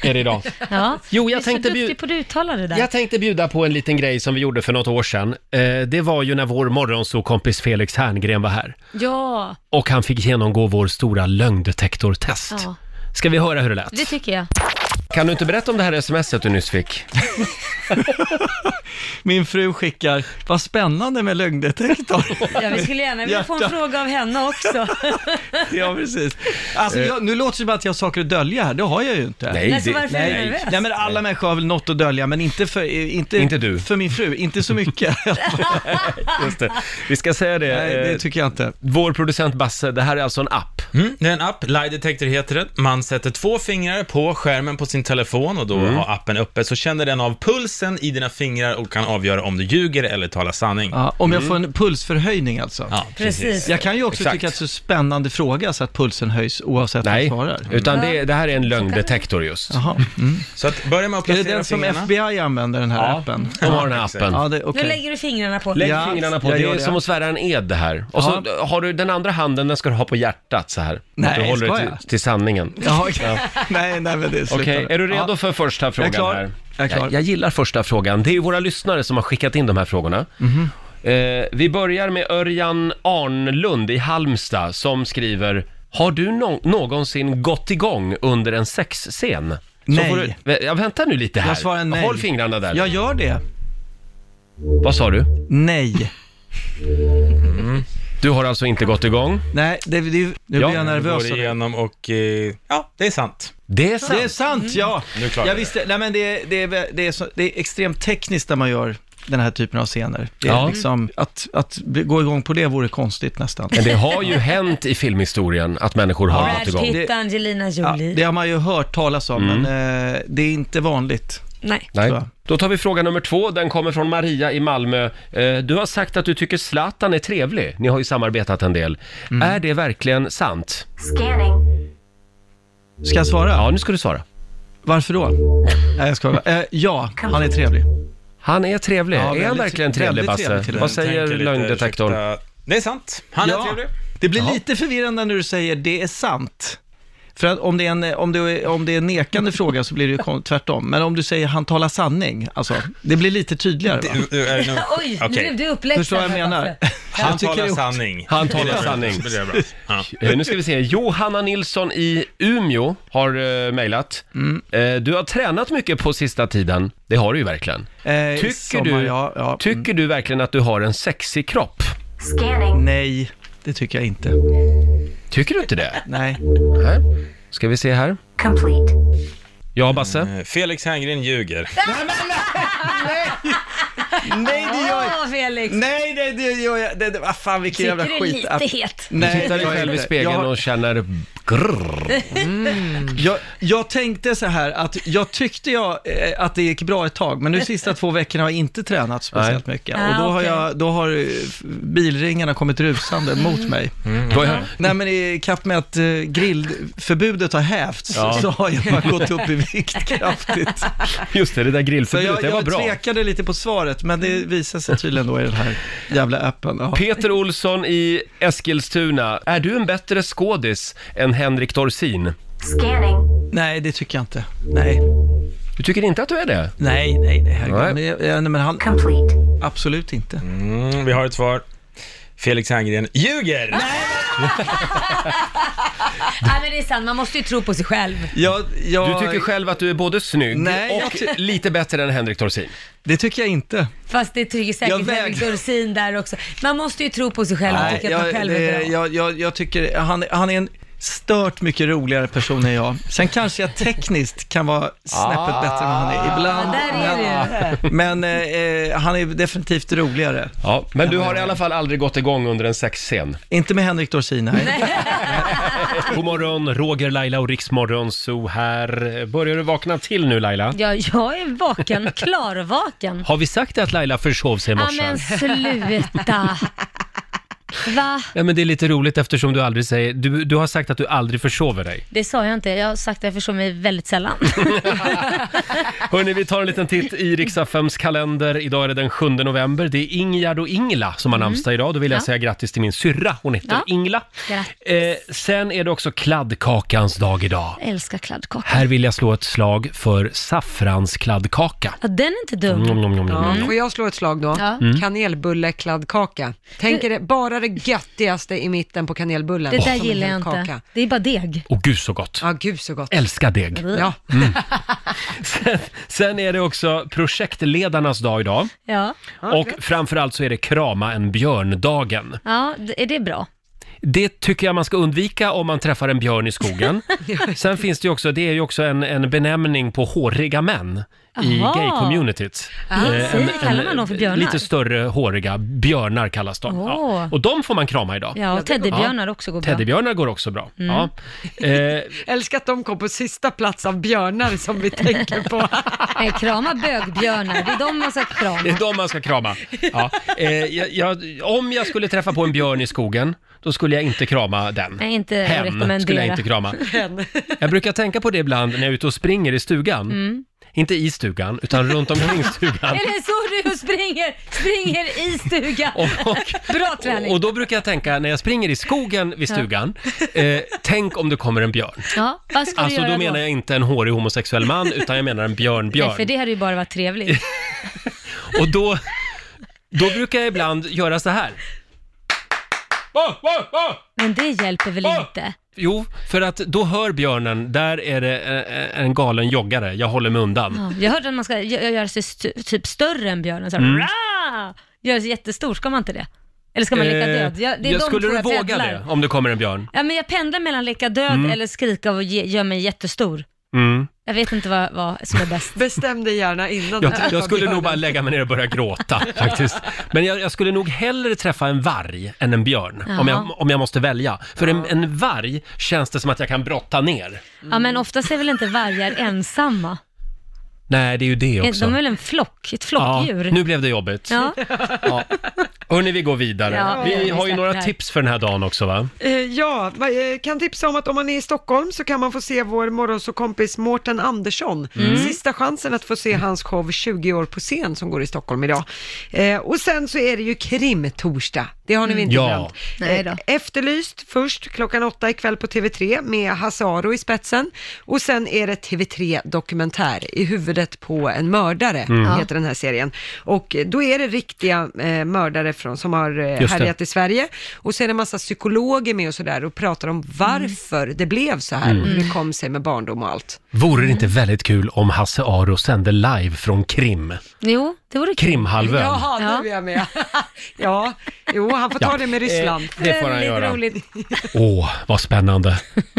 är det idag. Ja. Jo, jag du är tänkte så bju- duktig på att uttala det där. Jag tänkte bjuda på en liten grej som vi gjorde för något år sedan. Eh, det var ju när vår morgonsåkompis Felix Herngren var här. Ja, Och han fick genomgå vår stora lögndetektortest. Ja. Ska vi höra hur det lät? det tycker jag. Kan du inte berätta om det här smset du nyss fick? Min fru skickar, vad spännande med lögndetektor. Ja, vi skulle gärna vilja få en Hjärta. fråga av henne också. Ja, precis. Alltså, Eh. jag, nu låter det som att jag har saker att dölja här, det har jag ju inte. Nej, Nej, så det- varför är du nervös? Nej, men alla människor har väl något att dölja, men inte för, eh, inte, Inte du. för min fru, inte så mycket. Just det. Vi ska säga det. eh, Nej, det tycker jag inte. Vår producent Basse, det här är alltså en app. Mm, det är en app, Lie Detector heter den. Man sätter två fingrar på skärmen på sin telefon och då Mm. har appen uppe, så känner den av pulsen i dina fingrar och kan avgöra om du ljuger eller talar sanning. Mm. Ja, om Mm. jag får en pulsförhöjning alltså. Ja, precis. Precis. Jag kan ju också Exakt. tycka att det är så spännande fråga så att pulsen höjs oavsett vad jag svarar. Mm. Utan det, det här är en lögndetektor just. Så att börja med att Är det placera den som fingrarna. FBI använder, den här Ja, appen? de har den här appen. Ja, det, Nu okej. lägger du fingrarna på. Lägg fingrarna på, jag det gör är det. som att svära en ed det här. Och så har du den andra handen, den ska du ha på hjärtat så här. Nej, Att du håller ska det jag? till, till sanningen. Ja, okej. Ja. Nej, nej men det slutar. Okej, är du redo Ja. för första frågan jag är klar. här? Jag är klar. Jag, jag gillar första frågan. Det är ju våra lyssnare som har skickat in de här frågorna. Mhm. Eh, vi börjar med Örjan Arnlund i Halmstad som skriver Har du nå- någonsin gått igång under en sexscen? Nej. får du, Vä- ja, vänta nu lite här. Jag svarar nej. Håll fingrarna där. Jag gör det. Vad sa du? Nej. Du har alltså inte gått igång? Nej, det, det, nu blir jag nervös. Går igenom och, eh, ja, det är sant. Mm. Det är sant. Det är sant, ja. Nu klarar jag vi visste, nej men det, är- det, är, det, är så, det är extremt tekniskt när man gör den här typen av scener. Det är Ja. Mm. liksom, att, att bli- gå igång på det vore konstigt nästan. Men det har ju hänt i filmhistorien att människor har gått Brad igång. Pitt och Angelina Ja, Jolie. det har man ju hört talas om, Mm. men eh, det är inte vanligt. Nej. Nej. Då tar vi fråga nummer två. Den kommer från Maria i Malmö. Eh, Du har sagt att du tycker Zlatan är trevlig. Ni har ju samarbetat en del. Mm. Är det verkligen sant? Scanning. Ska jag svara? Ja, nu ska du svara. Varför då? Nej, jag skojar. Eh, ja, han är trevlig. Han är trevlig. Ja, är han väldigt- verkligen trevlig, väldigt Basse? trevlig till och med. Vad säger Tänker lite, lögndetektorn? Det är sant. Han är trevlig. Det blir lite förvirrande när du säger det är sant. För att om det är en, om det är, om det är en nekande fråga så blir det ju kon- tvärtom. Men om du säger han talar sanning, alltså, det blir lite tydligare va? Oj, nu blev du uppläxad. Förstår vad jag menar? Han Jag tycker talar det är- sanning. Han talar Det är bra. sanning. Det är bra. Ja. Eh, Nu ska vi se. Johanna Nilsson i Umeå har uh, mejlat. Mm. Eh, du har tränat mycket på sista tiden. Det har du ju verkligen. Eh, tycker sommar, du, ja, mm. ja. tycker du verkligen att du har en sexig kropp? Scanning. Nej, det tycker jag inte. Tycker du inte det? Nej. Nej. Ska vi se här. Complete. Ja, Basse? Eh, Felix Herngren ljuger. Nej, det gör jag Åh, Felix. Nej, nej, det gör jag. Det, det, vad fan vilken Tycker jävla du är skit. lite het? Du tittar dig själv i spegeln och känner... Grrr. Mm. Jag, jag tänkte så här att jag tyckte jag, eh, att det gick bra ett tag, men nu sista två veckorna har jag inte tränat speciellt mycket. Ah, och då har, okej. Mm. jag, då har eh, bilringarna kommit rusande mot mig. Då är- Nej men i kapp med att eh, grillförbudet har hävts Ja. så har jag bara gått upp i vikt kraftigt. Just det, det där Så grillförbudet, jag, det var jag bra. Mm. tvekade lite på svaret, men det visar sig tydligen då i den här jävla appen. Ja. Peter Olsson i Eskilstuna, är du en bättre skådis än Henrik Dorsin? Nej, det tycker jag inte. Nej. Du tycker inte att du är det? Nej, nej, nej, Nej. herregud. Men, jag- jag- nej, men han... Absolut inte. Mm, vi har ett svar. Felix Herngren ljuger! Nej men det är sant, man måste ju tro på sig själv. Du tycker själv att du är både snygg Nej, jag och ty- lite bättre än Henrik Dorsin? Det tycker jag inte. Fast det tycker Jag säkert väg- Henrik Dorsin där också. Man måste ju tro på sig själv och Nej, tycka att man själv är det- bra. jag, jag, jag tycker han, han är en stört mycket roligare person än jag. Sen kanske jag tekniskt kan vara snäppet bättre än vad han är ibland. Där är men men eh, eh, han är definitivt roligare. Ja, men du har i alla fall aldrig gått igång under en sexscen? Inte med Henrik Dorsin, nej. God morgon, Roger, Laila och Riksmorgon så här. Börjar du vakna till nu Laila? Ja, jag är vaken, klarvaken. Har vi sagt att Laila försov sig i Ja morse? men sluta. Va? Ja, men det är lite roligt eftersom du aldrig säger, du, du har sagt att du aldrig försover dig. Det sa jag inte, jag har sagt att jag förstår mig väldigt sällan. Hörni, vi tar en liten titt i Riksaffems kalender. Idag är det den 7 november. Det är Ingegärd och Ingela som har Mm. namnsdag idag. Då vill jag Ja. säga grattis till min syrra. Hon heter Ja. Ingla. Grattis. Eh, sen är det också kladdkakans dag idag. Jag älskar kladdkaka. Här vill jag slå ett slag för saffranskladdkaka. Ja, den är inte dum. Mm, mm, mm, Ja, mm. får jag slå ett slag då? Ja. Mm. Kanelbullekladdkaka. Tänk er det, bara det göttigaste i mitten på kanelbullen. Det där Som en gillar jag hel inte. kaka. Det är bara deg. Åh gud så gott! Ja, gud så gott. Älskar deg. Ja. Mm. Sen, sen är det också projektledarnas dag idag. Ja. Och framförallt så är det krama en björn-dagen. Ja, d- är det bra? Det tycker jag man ska undvika om man träffar en björn i skogen. Sen finns det ju också, det är ju också en, en benämning på håriga män i Aha. gay-communityt. Ah, Eh, en- se, kallar man dem för björnar? Lite större håriga björnar kallas de. Ja. Åh. Och de får man krama idag. Ja, och teddybjörnar Ja. också går bra. Teddybjörnar går också bra. Mm. Ja. Eh, Älskar att de kom på sista plats av björnar som vi tänker på. Nej, krama bögbjörnar. Det är de man ska krama. Det är de man ska krama. Ja. Eh, jag, jag, om jag skulle träffa på en björn i skogen, då skulle jag inte krama den. Nej, inte rekommendera. Hen skulle jag inte krama. Mm. Jag brukar tänka på det ibland när jag är ute och springer i stugan. Mm. Inte i stugan, utan runt omkring stugan. Eller så du springer, springer i stugan. Bra träning. Och då brukar jag tänka, när jag springer i skogen vid Ja. stugan, eh, tänk om det kommer en björn. ja, vad ska Alltså du göra då menar jag inte en hårig homosexuell man, utan jag menar en Nej, för björn-björn. det hade ju bara varit trevligt. Och då, då brukar jag ibland göra så här. Men det hjälper väl inte? Jo, för att då hör björnen, där är det eh, en galen joggare, jag håller mig undan. Ja, jag hörde att man ska gö- göra sig st- typ större än björnen. Så här, Mm. "Ra!" Göra sig jättestor, ska man inte det? Eller ska man leka Eh, död? Jag, det är jag de skulle två du jag våga pendlar. det om det kommer en björn? Ja, men jag pendlar mellan leka död Mm. eller skrika och ge, göra mig jättestor. Mm. Jag vet inte vad, vad som är bäst. Bestäm dig gärna innan Jag, jag skulle nog bara lägga mig ner och börja gråta faktiskt. Men jag, jag skulle nog hellre träffa en varg än en björn, Jaha. om jag, om jag måste välja. För en, en varg känns det som att jag kan brotta ner. Ja, men oftast är väl inte vargar ensamma? Nej, det är ju det också. Eh, De är väl en flock, ett flockdjur? nu blev det jobbigt. Ja. Ja. Hörni, vi går vidare. Ja, vi vi har ju släpper några det här. tips för den här dagen också va? Eh, Ja, va- eh, kan tipsa om att om man är i Stockholm så kan man få se vår morgonsåkompis Mårten Andersson. Mm. Sista chansen att få se hans show 20 år på scen som går i Stockholm idag. Eh, och sen så är det ju krimtorsdag. Det har ni väl inte Ja. glömt? Nej då. Eh, Efterlyst först klockan åtta ikväll på TV3 med Hasaro i spetsen. Och sen är det TV3 Dokumentär i huvudet på en mördare, Mm. Ja. heter den här serien. Och eh, då är det riktiga eh, mördare från, som har eh, Just det. härjat i Sverige. Och så är det en massa psykologer med och sådär och pratar om varför Mm. det blev så här och hur det kom sig med barndom och allt. Vore det inte Mm. väldigt kul om Hasse Aro sände live från Krim? Jo, det vore kul. Krimhalvön. Jaha, nu är jag med. ja, Jo, han får ta Ja. det med Ryssland. Eh, det får han Väldigt göra. roligt. Åh, vad spännande.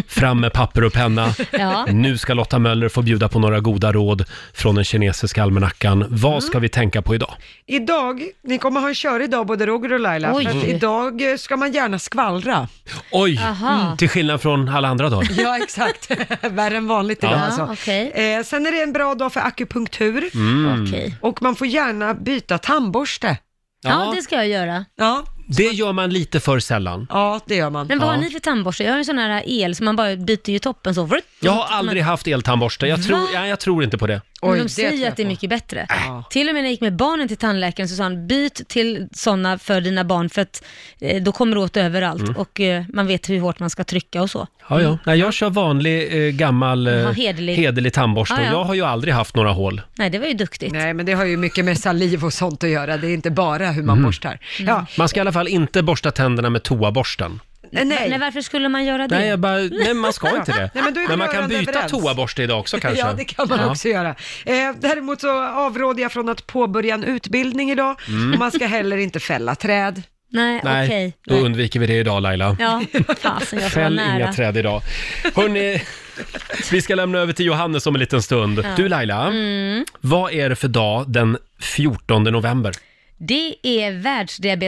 Fram med papper och penna. Ja. Nu ska Lotta Möller få bjuda på några goda råd från den kinesiska almanackan. Mm. Vad ska vi tänka på idag? Idag, ni kommer ha en kör idag både Roger och Laila, Oj. för att Mm. idag eh, ska man gärna skvallra. Oj, Mm. Aha. till skillnad från alla andra dagar. Ja, exakt. Värre än vanligt idag Ja, alltså. eh, sen är det en bra dag för akupunktur. Mm. Okej. Och man får gärna byta tandborste. Ja, Ja. det ska jag göra. Ja, Det gör man lite för sällan. ja det gör man. Men vad Ja. har ni för tandborste? Jag har en sån här el som man bara byter ju toppen så. Vrrt, Jag har aldrig haft eltandborste. Jag tror, ja, jag tror inte på det. men de säger att det är mycket bättre. Till och med när jag gick med barnen till tandläkaren så sa han byt till sådana för dina barn för att eh, då kommer det åt överallt Mm. och eh, man vet hur hårt man ska trycka och så. Ja, ja. Nej, jag kör vanlig eh, gammal eh, Ja, hederlig. hederlig. tandborste Ja, ja. och jag har ju aldrig haft några hål. Nej, det var ju duktigt. Nej, men det har ju mycket med saliv och sånt att göra. Det är inte bara hur man Mm. borstar. Ja, eh, Man ska i alla fall inte borsta tänderna med toaborsten. nej. Nej, varför skulle man göra det? Nej, jag bara, nej, man ska inte det. Nej, men då är vi man kan rörande byta överens. toaborste idag också kanske. Ja, det kan man Ja. också göra. Eh, däremot så avråder jag från att påbörja en utbildning idag Mm. och man ska heller inte fälla träd. Nej, Nej, då undviker vi det idag Laila. Ja, fasen jag Fäll inga träd idag. Hörrni, vi ska lämna över till Johannes om en liten stund. Ja. Du Laila, Mm. vad är det för dag den 14 november? Det är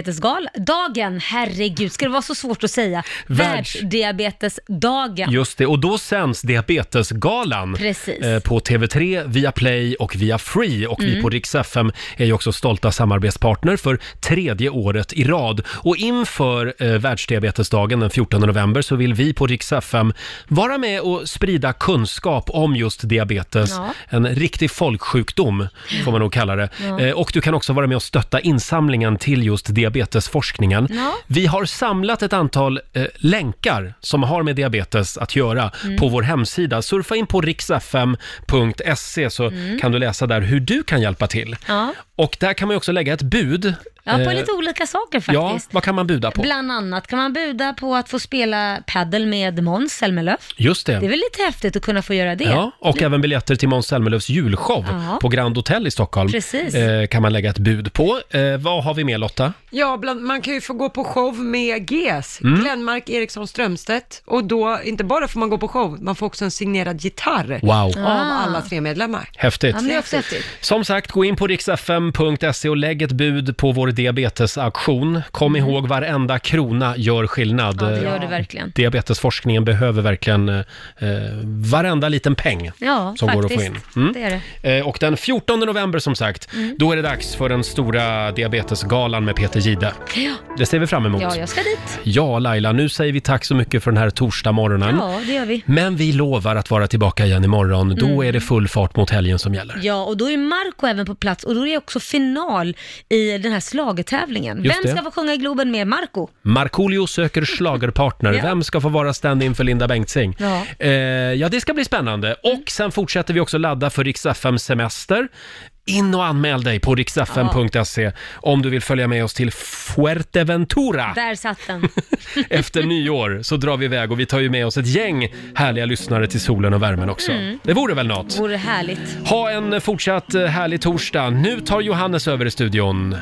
världsdiabetesdagen, herregud, ska det vara så svårt att säga? Världs- Världsdiabetesdagen. Just det, och då sänds Diabetesgalan Precis. eh, på TV3, via Play och via Free. Och vi Mm. på Rix FM är ju också stolta samarbetspartner för tredje året i rad. Och inför eh, Världsdiabetesdagen den 14 november så vill vi på Rix FM vara med och sprida kunskap om just diabetes. Ja. En riktig folksjukdom får man nog kalla det. Ja. Eh, och du kan också vara med och stötta insamlingen till just diabetesforskningen. Ja. Vi har samlat ett antal eh, länkar som har med diabetes att göra Mm. på vår hemsida. Surfa in på riksfm.se så Mm. kan du läsa där hur du kan hjälpa till. Ja. Och där kan man ju också lägga ett bud. ja, på Eh, lite olika saker Ja, faktiskt. vad kan man buda på? Bland annat kan man buda på att få spela paddel med Måns Zelmerlöw. Just det. Det är väl lite häftigt att kunna få göra det? Ja, och även biljetter till Måns Zelmerlöws julshow Ja. på Grand Hotel i Stockholm Precis. eh, kan man lägga ett bud på. Eh, vad har vi med Lotta? Ja, bland, man kan ju få gå på show med GES, Mm. Glenmark Eriksson Strömstedt. Och då, inte bara får man gå på show, man får också en signerad gitarr Wow. av Ah. alla tre medlemmar. Häftigt. Ja, men det är också häftigt. Som sagt, gå in på riksfm.se och lägg ett bud på vår diabetesaktion. Kom ihåg, varenda krona gör skillnad. Mm. Eh, Ja, det gör det verkligen. Diabetesforskningen behöver verkligen eh, varenda liten peng Ja, som går att faktiskt. få in. Mm. Det är det. Eh, Och den 14 november som sagt, Mm. då är det dags för den stora diabetesgalan med Peter Gide. Ja. Det ser vi fram emot. ja, jag ska dit. Ja, Laila, nu säger vi tack så mycket för den här torsdagmorgonen. Ja, det gör vi. Men vi lovar att vara tillbaka igen imorgon. Då Mm. är det full fart mot helgen som gäller. Ja, och då är Marco även på plats och då är det också final i den här schlagertävlingen. Just Vem det. ska få sjunga i Globen med Marco? Markoolio söker schlagerpartner. Ja. Vem ska få vara stand-in för Linda Bengtzing? Ja. Mm. Eh, ja, det ska bli spännande. Och sen fortsätter vi också ladda för Rix FM semester. In och anmäl dig på rixfm.se om du vill följa med oss till Fuerteventura. Där satt den. Efter nyår så drar vi iväg och vi tar ju med oss ett gäng härliga lyssnare till solen och värmen också. Mm. Det vore väl något? Vore härligt. Ha en fortsatt eh, härlig torsdag. Nu tar Johannes över i studion.